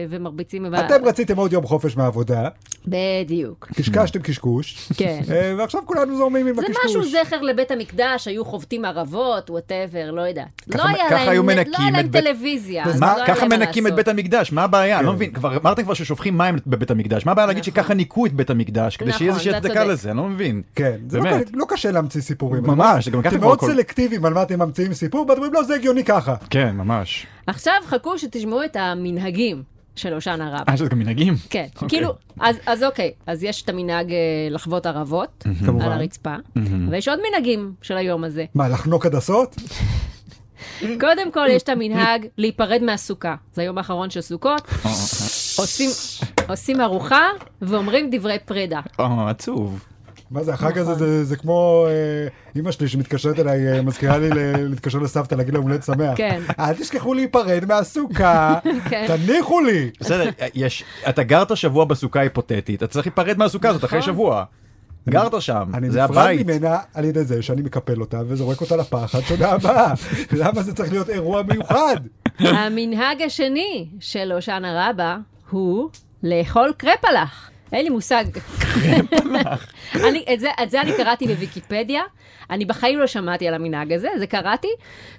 S1: ומרביצים... בב-
S3: אתם רציתם עוד יום חופש
S2: *laughs*
S3: מהעבודה,
S1: בדיוק.
S3: קשקשתם קשקוש,
S1: כן.
S3: אה, ועכשיו כולנו זורמים עם
S1: זה
S3: הקשקוש.
S1: משהו זכר לבית המקדש, היו חובטים ערבות, וואטאבר, לא יודעת. לא
S2: ככה-
S1: היה
S2: ככה היו
S1: להם לא היה
S2: מנקים
S1: להם
S2: את בית-
S1: טלוויזיה. אז
S2: מה-
S1: לא היה
S2: ככה
S1: להם מה
S2: מנקים את
S1: לעשות.
S2: בית המקדש, מה הבעיה? אני לא מבין, כבר אמרתם כבר ששופכים מים בבית המקדש, מה הבעיה להגיד שככה ניקו את בית המקדש, כדי
S1: נכון,
S2: שיהיה איזושהי
S1: אתה
S2: הצדקה
S1: צודק.
S2: לזה, אני לא מבין.
S3: כן, זה לא
S2: באמת.
S3: ק- לא קשה להמציא סיפורים.
S2: ממש, גם ככה
S3: אתם
S2: כבר
S3: מאוד
S2: הכל-
S3: סלקטיביים על מה אתם ממציאים סיפור, ואתם אומרים, לא, זה הגיוני ככה.
S2: כן, ממש.
S1: עכשיו חכו שתשמעו את המנהגים של הושענא רבה.
S2: אה, שזה גם מנהגים?
S1: כן,
S2: אוקיי.
S1: כאילו, אז, אז אוקיי, אז יש את המנהג אה, לחוות ערבות
S3: כמובן.
S1: על הרצפה, אבל יש עוד מנהגים של היום הזה.
S3: מה, לחנוק הדסות?
S1: קודם כל, יש את המנהג להיפרד מהסוכה. זה היום האחרון של סוכות,
S2: אה,
S1: עושים, עושים ארוחה ואומרים דברי פרידה.
S2: אה, עצוב.
S3: מה זה, החג
S1: נכון.
S3: הזה זה- זה כמו אה, אימא שלי שמתקשרת אליי, אה, מזכירה לי ל- להתקשר לסבתא, להגיד לה הולד שמח.
S1: כן.
S3: אל תשכחו להיפרד מהסוכה,
S1: *laughs* כן.
S3: תניחו לי.
S2: בסדר, יש, אתה גרת שבוע בסוכה היפותטית, אתה צריך להיפרד מהסוכה הזאת אחרי שבוע. גרת שם,
S3: נכון. אני
S2: זה
S3: נפרד
S2: הבית.
S3: ממנה על ידי זה שאני מקפל אותה וזורק אותה לפח עד שנה הבאה. *laughs* למה זה צריך להיות אירוע מיוחד?
S1: המנהג השני של הושענא רבה הוא לאכול קרפלח. אין לי מושג. אני, את, זה, את זה אני קראתי בוויקיפדיה, אני בחיים לא שמעתי על המנהג הזה, זה קראתי.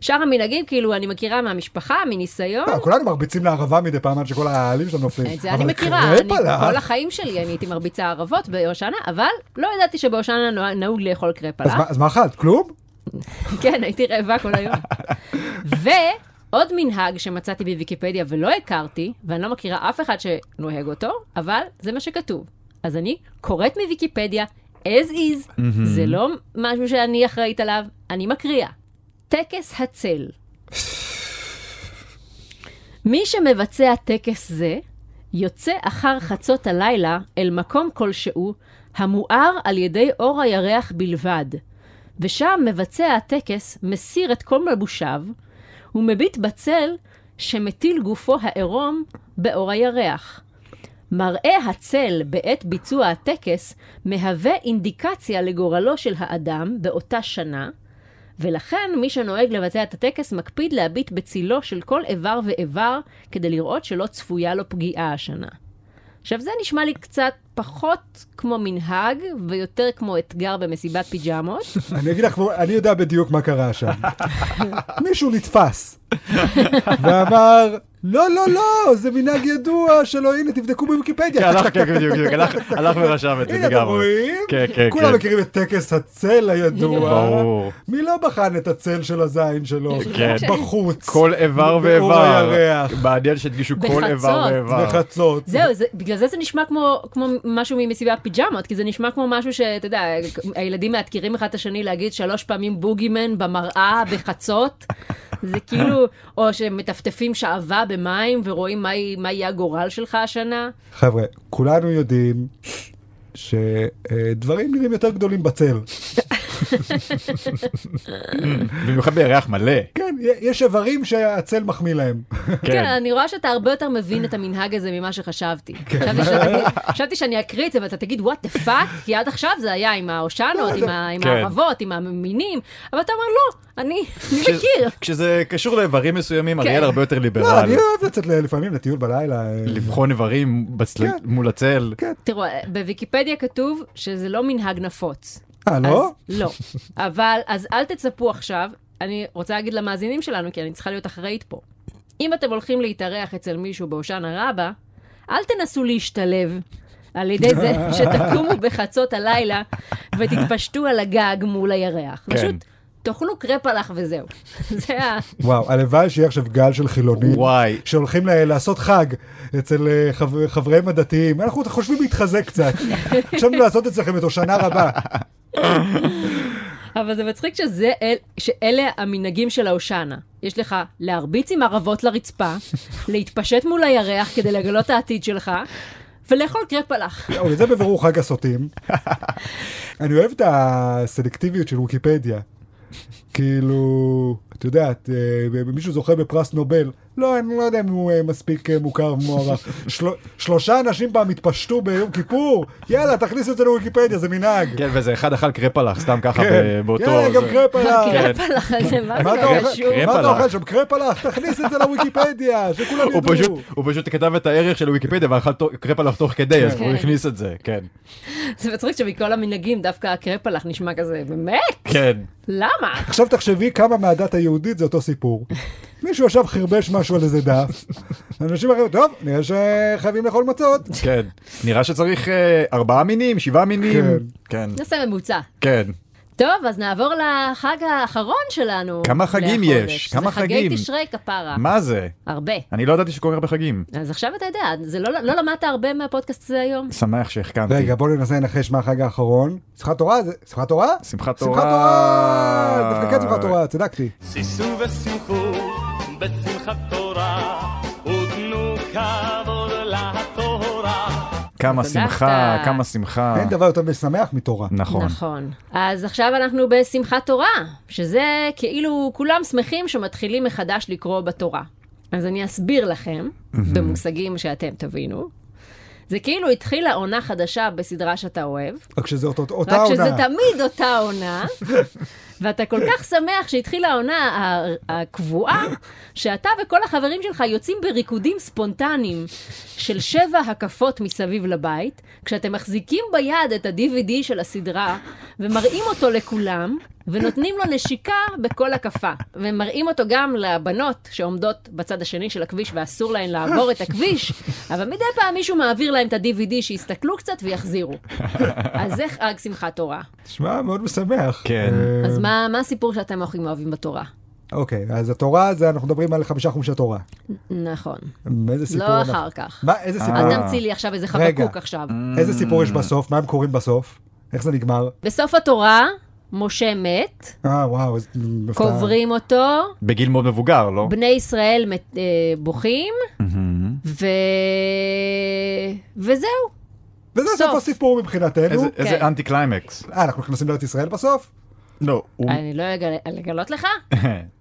S1: שאר המנהגים, כאילו, אני מכירה מהמשפחה, מניסיון.
S3: אה, כולנו מרביצים לערבה מדי פעם עד שכל העלים שלנו נופלים.
S1: את זה אני
S3: אבל
S1: מכירה, אני,
S3: קרפ עליו.
S1: כל החיים שלי אני הייתי מרביצה ערבות בהושענא, אבל לא ידעתי שבהושענא נוה- נהוג לאכול
S3: אז
S1: קרפלח.
S3: מה- אז מה אכלת? כלום?
S1: *laughs* כן, הייתי רעבה כל היום. ועוד מנהג שמצאתי בוויקיפדיה ולא הכרתי, ואני לא מכירה אף אחד שנוהג אותו, אבל זה מה שכתוב. אז אני קוראת מוויקיפדיה, as is, זה לא משהו שאני אחראית עליו, אני מקריאה. טקס הצל. מי שמבצע טקס זה, יוצא אחר חצות הלילה אל מקום כלשהו, המואר על ידי אור הירח בלבד, ושם מבצע הטקס מסיר את כל מלבושיו, ומביט בצל שמטיל גופו העירום באור הירח. מראה הצל בעת ביצוע הטקס מהווה אינדיקציה לגורלו של האדם באותה שנה, ולכן מי שנוהג לבצע את הטקס מקפיד להביט בצילו של כל איבר ואיבר כדי לראות שלא צפויה לו פגיעה השנה. עכשיו זה נשמע לי קצת פחות כמו מנהג ויותר כמו אתגר במסיבת פיג'מות,
S3: אני אגיד לך, אני יודע בדיוק מה קרה שם. מישהו נתפס ואמר, לא, לא, לא, זה מנהג ידוע שלא, הנה, תבדקו
S2: כן,
S3: בוויקיפדיה.
S2: הלך, כן, בדיוק, בדיוק, הלך- הלך ורשם את זה
S3: הנה, אתם
S2: לגמרי.
S3: רואים?
S2: כן, כן,
S3: כולם
S2: כן.
S3: מכירים את טקס הצל הידוע.
S2: ברור.
S3: מי לא בחן את הצל של הזין שלו?
S2: כן.
S3: בחוץ.
S2: כל איבר
S3: באור
S2: ואיבר.
S3: הירח.
S2: מעניין שהדגישו כל איבר
S1: בחצות.
S2: ואיבר.
S3: בחצות.
S1: זהו, זה, בגלל זה זה נשמע כמו, כמו משהו ממסיבת פיג'מות, כי זה נשמע כמו משהו שאתה יודע, הילדים מאתגרים אחד את השני להגיד שלוש פעמים בוגימן במראה בחצות. זה כאילו, או שמטפטפים שעווה במים ורואים מה, יהיה- מה יהיה הגורל שלך השנה.
S3: חבר'ה, כולנו יודעים שדברים נראים יותר גדולים בצל.
S2: במיוחד
S1: *laughs*
S2: בירח מלא.
S3: כן, יש איברים שהצל מחמיא להם.
S1: כן. כן, אני רואה שאתה הרבה יותר מבין את המנהג הזה ממה שחשבתי. חשבתי שאתה- חשבתי שאני אקריא את זה ואתה תגיד, וואט דה פאק, כי עד עכשיו זה היה עם ההושענות, עם ה- עם
S2: כן.
S1: הערבות, עם המינים, אבל אתה אומר, לא, אני אני מכיר.
S2: כשזה קשור לאיברים מסוימים,
S1: כן.
S2: אריאל הרבה יותר
S3: לא,
S2: ליברל.
S3: אני אוהב לצאת לפעמים לטיול בלילה. אה,
S2: לבחון איברים בצל-
S3: כן.
S2: מול הצל.
S1: תראו, בוויקיפדיה כתוב שזה לא מנהג נפוץ.
S3: אה, לא?
S1: אז לא. אבל, אז אל תצפו עכשיו, אני רוצה להגיד למאזינים שלנו, כי אני צריכה להיות אחראית פה. אם אתם הולכים להתארח אצל מישהו בהושענא רבה, אל תנסו להשתלב על ידי זה שתקומו בחצות הלילה ותתפשטו על הגג מול הירח.
S2: כן.
S1: פשוט תאכלו קרפלח וזהו. *laughs* זה ה...
S3: וואו, הלוואי שיהיה עכשיו גל של חילונים.
S2: וואי.
S3: שהולכים ל- לעשות חג אצל אה, חבר- חבריהם הדתיים. אנחנו חושבים להתחזק קצת. חשבנו לעשות אצלכם את הושענא רבה.
S1: אבל זה מצחיק שזה אל, שאלה המנהגים של ההושענא. יש לך להרביץ עם ערבות
S2: *laughs*
S1: לרצפה, להתפשט מול הירח כדי לגלות את העתיד שלך, ולאכול קרפ פלח.
S3: אוקיי, זה בבירור חג הסוטים. אני אוהב את הסלקטיביות של ויקיפדיה. כאילו, את יודעת, אה, מישהו זוכה בפרס נובל, לא, אני לא יודע אם הוא אה, מספיק אה, מוכר ומוערך. של... שלושה אנשים פעם התפשטו ביום כיפור, יאללה, תכניס את זה לוויקיפדיה, זה מנהג.
S2: כן, וזה אחד אכל קרפלח, סתם ככה
S3: כן.
S2: ב- באותו...
S3: יאללה, גם
S2: זה-
S3: קרפ
S1: *laughs*
S3: עליו.
S1: הקרפ פלח הזה, מה
S3: מה
S1: זה
S3: אתה אוכל-
S1: קשור?
S2: קרפ
S3: מה אתה
S2: עליו.
S3: אוכל שם? קרפ עליו, תכניס את זה לוויקיפדיה, שכולם
S2: הוא פשוט,
S3: ידעו.
S2: הוא פשוט כתב את הערך של ויקיפדיה ואכל תו- קרפלח תוך כדי, אז
S1: כן.
S2: הוא הכניס את זה, כן.
S1: זה מצחיק שמכל המנהגים דווקא הקרפ פלח נשמע כזה, באמת?
S2: כן.
S1: למה?
S3: עכשיו תחשבי כמה מהדת היהודית זה אותו
S1: *laughs*
S3: סיפור. מישהו ישב חרבש משהו על איזה דף, אנשים אחרים, טוב, נראה שחייבים לאכול מצות.
S2: כן. נראה שצריך אה, ארבעה מינים, שבעה מינים. כן.
S1: נעשה ממוצע.
S2: כן.
S1: טוב, אז נעבור לחג האחרון שלנו.
S2: כמה חגים
S1: לחודש.
S2: יש?
S1: זה
S2: כמה חגים?
S1: חגי תשרי כפרה.
S2: מה זה?
S1: הרבה.
S2: אני לא ידעתי שקורה הרבה חגים.
S1: אז עכשיו אתה יודע, זה לא, לא למדת הרבה מהפודקאסט הזה היום?
S2: שמח שהחכמתי.
S3: רגע, בואו ננסה לנחש מה החג האחרון. שמחת תורה? זה- שמחת תורה? שמחת
S2: שמחת תורה.
S3: תורה! דווקא כן שמחת תורה, צדקתי.
S6: שישו ושמחו בשמחת תורה ותנו כבוד לתורה
S2: כמה
S1: צדקת.
S2: שמחה, כמה שמחה.
S3: אין דבר יותר משמח מתורה.
S2: נכון.
S1: נכון. אז עכשיו אנחנו בשמחת תורה, שזה כאילו כולם שמחים שמתחילים מחדש לקרוא בתורה. אז אני אסביר לכם, במושגים שאתם תבינו. זה כאילו התחילה עונה חדשה בסדרה שאתה אוהב,
S3: רק שזה אותו- אותה
S1: רק שזה
S3: עונה.
S1: תמיד אותה עונה, *laughs* ואתה כל כך שמח שהתחילה העונה ה- הקבועה, שאתה וכל החברים שלך יוצאים בריקודים ספונטניים של שבע הקפות מסביב לבית, כשאתם מחזיקים ביד את ה-DVD של הסדרה, ומראים אותו לכולם, ונותנים לו נשיקה בכל הקפה. ומראים אותו גם לבנות שעומדות בצד השני של הכביש ואסור להן לעבור את הכביש, אבל מדי פעם מישהו מעביר להן את ה-DVD שיסתכלו קצת ויחזירו. אז זה חג שמחת תורה.
S3: שמע, מאוד משמח.
S2: כן.
S3: אה,
S1: אז מה, מה הסיפור שאתם הכי אוהבים בתורה?
S3: אוקיי, אז התורה, זה אנחנו מדברים על חמישה חומשי תורה.
S1: נכון,
S3: איזה סיפור.
S1: לא
S3: אנחנו-
S1: אחר כך.
S3: מה, איזה סיפור?
S1: אל
S2: אה.
S1: תמציא לי עכשיו איזה
S3: רגע.
S1: חבקוק עכשיו.
S3: איזה סיפור יש בסוף? מה הם קוראים בסוף? איך זה נגמר?
S1: בסוף התורה, משה מת,
S3: אה, וואו, איזה הפתעה.
S1: קוברים אותו,
S2: בגיל מאוד מבוגר, לא?
S1: בני ישראל מת- אה, בוכים, ו... וזהו.
S3: וזה סוף
S1: סוף.
S3: הסיפור מבחינתנו.
S2: איזה-
S1: אוקיי.
S2: איזה אנטי קליימקס.
S3: אה, אנחנו נכנסים לארץ ישראל בסוף?
S2: לא, הוא...
S1: אני לא אגל- לגלות לך?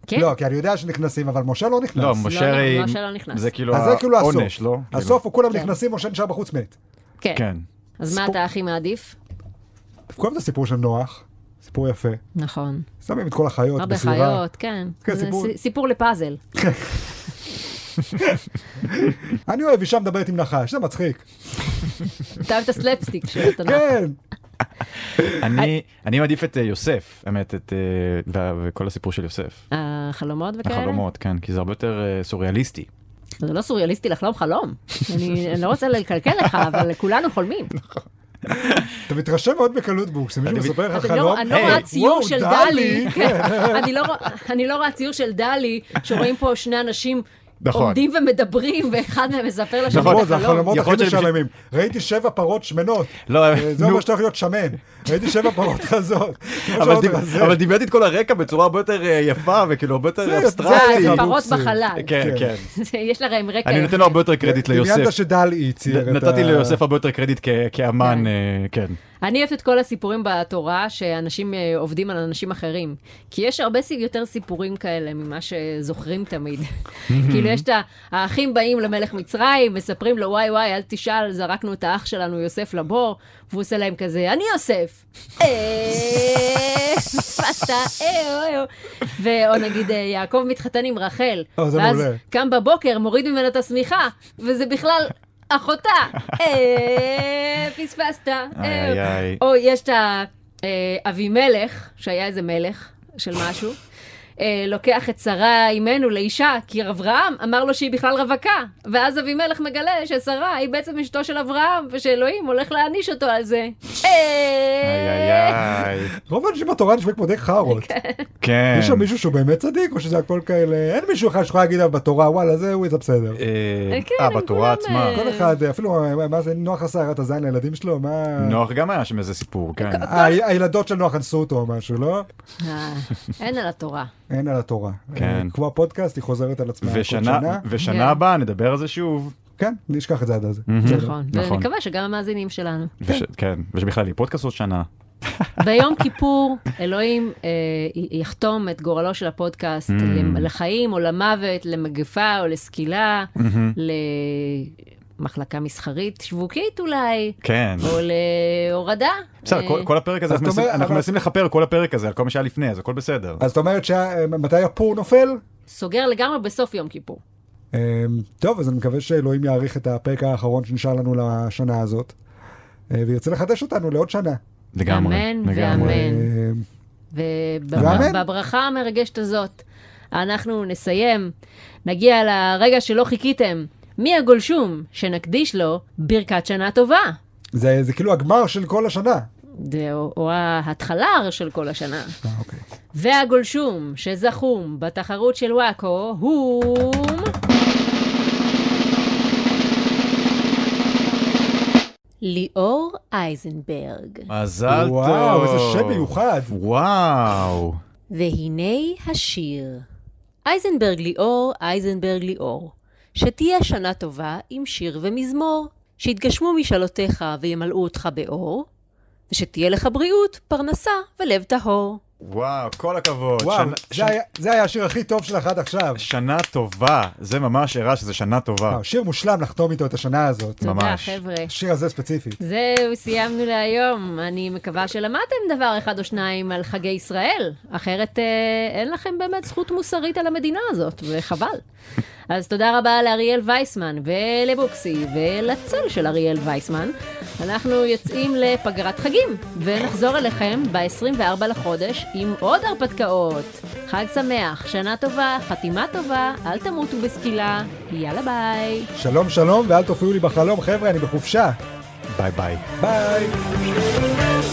S1: כן.
S3: לא, כי אני יודע שנכנסים, אבל משה לא נכנס.
S2: *laughs* לא,
S1: לא,
S2: משה הרי...
S1: משה לא נכנס.
S2: זה כאילו
S3: אז זה כאילו הסוף.
S2: העונש, לא?
S3: הסוף הוא כולם
S1: כן.
S3: נכנסים, משה נשאר בחוץ מת.
S1: כן.
S2: כאילו, כן.
S1: אז מה
S3: סיפור-
S1: אתה הכי מעדיף?
S3: דווקא אוהב את הסיפור של נוח, סיפור יפה.
S1: נכון.
S3: שמים את כל החיות
S1: הרבה
S3: בסביבה.
S1: חיות, כן.
S3: כן,
S1: זה
S3: סיפור-
S1: סי- סיפור לפאזל.
S3: אני אוהב אישה מדברת עם נחש, זה מצחיק.
S1: אה. אתה אוהב את הסלפסטיק של התנ"ך.
S3: כן,
S2: אני- אני מעדיף את אה, יוסף, האמת, את... אה, וה- וכל הסיפור של יוסף.
S1: החלומות וכאלה?
S2: החלומות, כן, כי זה הרבה יותר אה, סוריאליסטי.
S1: זה לא סוריאליסטי לחלום חלום. אני אני לא רוצה לקלקל לך, אבל כולנו חולמים.
S3: אתה מתרשם מאוד בקלות בוקס, אם מישהו
S2: אני-
S3: מספר לך
S1: אתם לא-
S3: חלום.
S1: אני לא
S2: היי,
S1: רואה ציור
S3: וואו,
S1: של
S3: דלי. *laughs*
S1: דלי. *laughs* כן. אני לא רוא- אני לא רואה ציור של דלי, שרואים פה שני אנשים
S2: נכון.
S1: עומדים ומדברים, ואחד מהם מספר לשני
S2: נכון,
S3: בוא,
S1: את
S3: זה
S1: החלום.
S3: החלומות הכי
S2: יכול להיות שאני
S3: משעממים. ראיתי שבע פרות שמנות.
S2: לא,
S3: אה, זה
S2: נו.
S3: אומר שאתה הולך להיות שמן. ראיתי שבע פרות *laughs* חזות.
S2: אבל דיב- אבל דיברתי את כל הרקע בצורה הרבה יותר אה, יפה וכאילו הרבה יותר אבסטרקטי.
S1: זה כן.
S3: חלומות
S1: פרות
S3: בוקסים.
S1: בחלל.
S2: כן,
S3: כן.
S2: כן.
S1: זה- *laughs* יש להם רקע.
S2: אני נותן לו הרבה יותר קרדיט ליוסף.
S3: דמיינת שדלי הצייר את ה...
S2: נתתי ליוסף הרבה יותר קרדיט כ- כאמן,
S1: כן.
S2: אה, כן.
S1: אני אוהבת את כל הסיפורים בתורה שאנשים אה, עובדים על אנשים אחרים. כי יש הרבה סי- יותר סיפורים כאלה ממה שזוכרים
S3: *laughs*
S1: תמיד. כאילו יש את ה- האחים באים למלך מצרים, מספרים לו וואי וואי אל תשאל, זרקנו את האח שלנו יוסף לבור, והוא עושה להם כזה, אני יוסף. *laughs* אה, ואתה, אה, אוי, אוי. ואו נגיד אה, יעקב מתחתן עם רחל,
S3: אה, זה
S1: ואז
S3: מעולה.
S1: קם בבוקר, מוריד ממנה את השמיכה, וזה בכלל
S2: *laughs*
S1: אחותה. אה, פספסת. אה.
S2: איי, איי.
S1: או יש את ה- אה, אבימלך, שהיה איזה מלך של משהו. אה, לוקח את שרה אימנו לאישה, כי אברהם אמר לו שהיא בכלל רווקה. ואז אבימלך מגלה ששרה היא בעצם אשתו של אברהם, ושאלוהים הולך להעניש אותו על זה. אה, אוקיי.
S2: איי איי איי.
S3: רוב האנשים בתורה נשמעים כמו די חארות.
S2: כן.
S3: יש שם מישהו שהוא באמת צדיק, או שזה הכל כאלה... אין מישהו אחד שיכול להגיד עליו בתורה, וואלה, זהו, זה בסדר.
S2: אה,
S1: כן,
S2: אה,
S1: הם
S2: בתורה
S1: כולם,
S2: עצמה.
S1: אה,
S3: כל אחד, אפילו, אה, מה זה, נוח עשה הראת הזין לילדים שלו, מה...
S2: נוח גם היה שם איזה סיפור, כן.
S3: אה, ה- הילדות של נוח אנסו אותו או משהו, לא?
S1: אה, אין על
S2: *laughs*
S1: התורה.
S3: אין על התורה.
S2: כן.
S3: אה, כמו הפודקאסט, היא חוזרת על עצמה כל
S2: ושנה,
S3: שנה.
S1: כן.
S2: ושנה הבאה נדבר על זה שוב.
S3: כן, נשכח את זה עד אז.
S1: נכון.
S2: נכון.
S1: ונקווה שגם המאזינים שלנו.
S2: וש- כן, ושבכלל יהיה פודקאסט עוד שנה.
S1: ביום כיפור, אלוהים אה, י- יחתום את גורלו של הפודקאסט
S2: Mm.
S1: למ- לחיים או למוות, למגפה או לסקילה,
S2: Mm-hmm.
S1: למחלקה מסחרית, שיווקית אולי,
S2: כן.
S1: או להורדה.
S2: בסדר,
S1: אה,
S2: כל- כל הפרק הזה,
S3: אז
S2: אנחנו
S3: אתה אומר,
S2: מנסים- אנחנו
S3: אבל-
S2: מנסים לכפר כל הפרק הזה על כל מה שהיה לפני, אז הכל בסדר.
S3: אז את אומרת שמתי הפור נופל?
S1: סוגר לגמרי בסוף יום כיפור.
S3: אה, טוב, אז אני מקווה שאלוהים יאריך את הפרק האחרון שנשאר לנו לשנה הזאת, אה, וירצה לחדש אותנו לעוד שנה.
S2: לגמרי.
S1: אמן
S2: לגמרי.
S1: ואמן.
S3: אה, ואמן.
S1: ובברכה המרגשת הזאת, אנחנו נסיים, נגיע לרגע שלא חיכיתם. מי הגולשום שנקדיש לו ברכת שנה טובה?
S3: זה זה כאילו הגמר של כל השנה.
S1: זה או, או ההתחלה של כל השנה.
S3: אה, אוקיי.
S1: והגולשום שזכום בתחרות של וואקו הוא... ליאור אייזנברג.
S2: מזל טוב.
S3: וואו, איזה שם מיוחד.
S2: וואו.
S1: והנה השיר. אייזנברג ליאור, אייזנברג ליאור, שתהיה שנה טובה עם שיר ומזמור, שיתגשמו משאלותיך וימלאו אותך באור, ושתהיה לך בריאות, פרנסה ולב טהור.
S2: וואו, כל הכבוד.
S3: וואו,
S2: שנה-
S3: זה היה- זה היה השיר הכי טוב שלך עד עכשיו.
S2: שנה טובה, זה ממש הראה שזה שנה טובה.
S3: אה, שיר מושלם לחתום איתו את השנה הזאת.
S1: תודה,
S2: ממש.
S1: חבר'ה.
S3: השיר הזה ספציפית.
S1: זהו, סיימנו להיום. אני מקווה שלמדתם דבר אחד או שניים על חגי ישראל, אחרת אה, אין לכם באמת זכות מוסרית על המדינה הזאת, וחבל. אז תודה רבה לאריאל וייסמן, ולבוקסי, ולצל של אריאל וייסמן. אנחנו יוצאים לפגרת חגים, ונחזור אליכם ב-24 לחודש עם עוד הרפתקאות. חג שמח, שנה טובה, חתימה טובה, אל תמותו בסקילה, יאללה ביי.
S3: שלום שלום ואל תופיעו לי בחלום, חבר'ה, אני בחופשה.
S2: ביי ביי.
S3: ביי.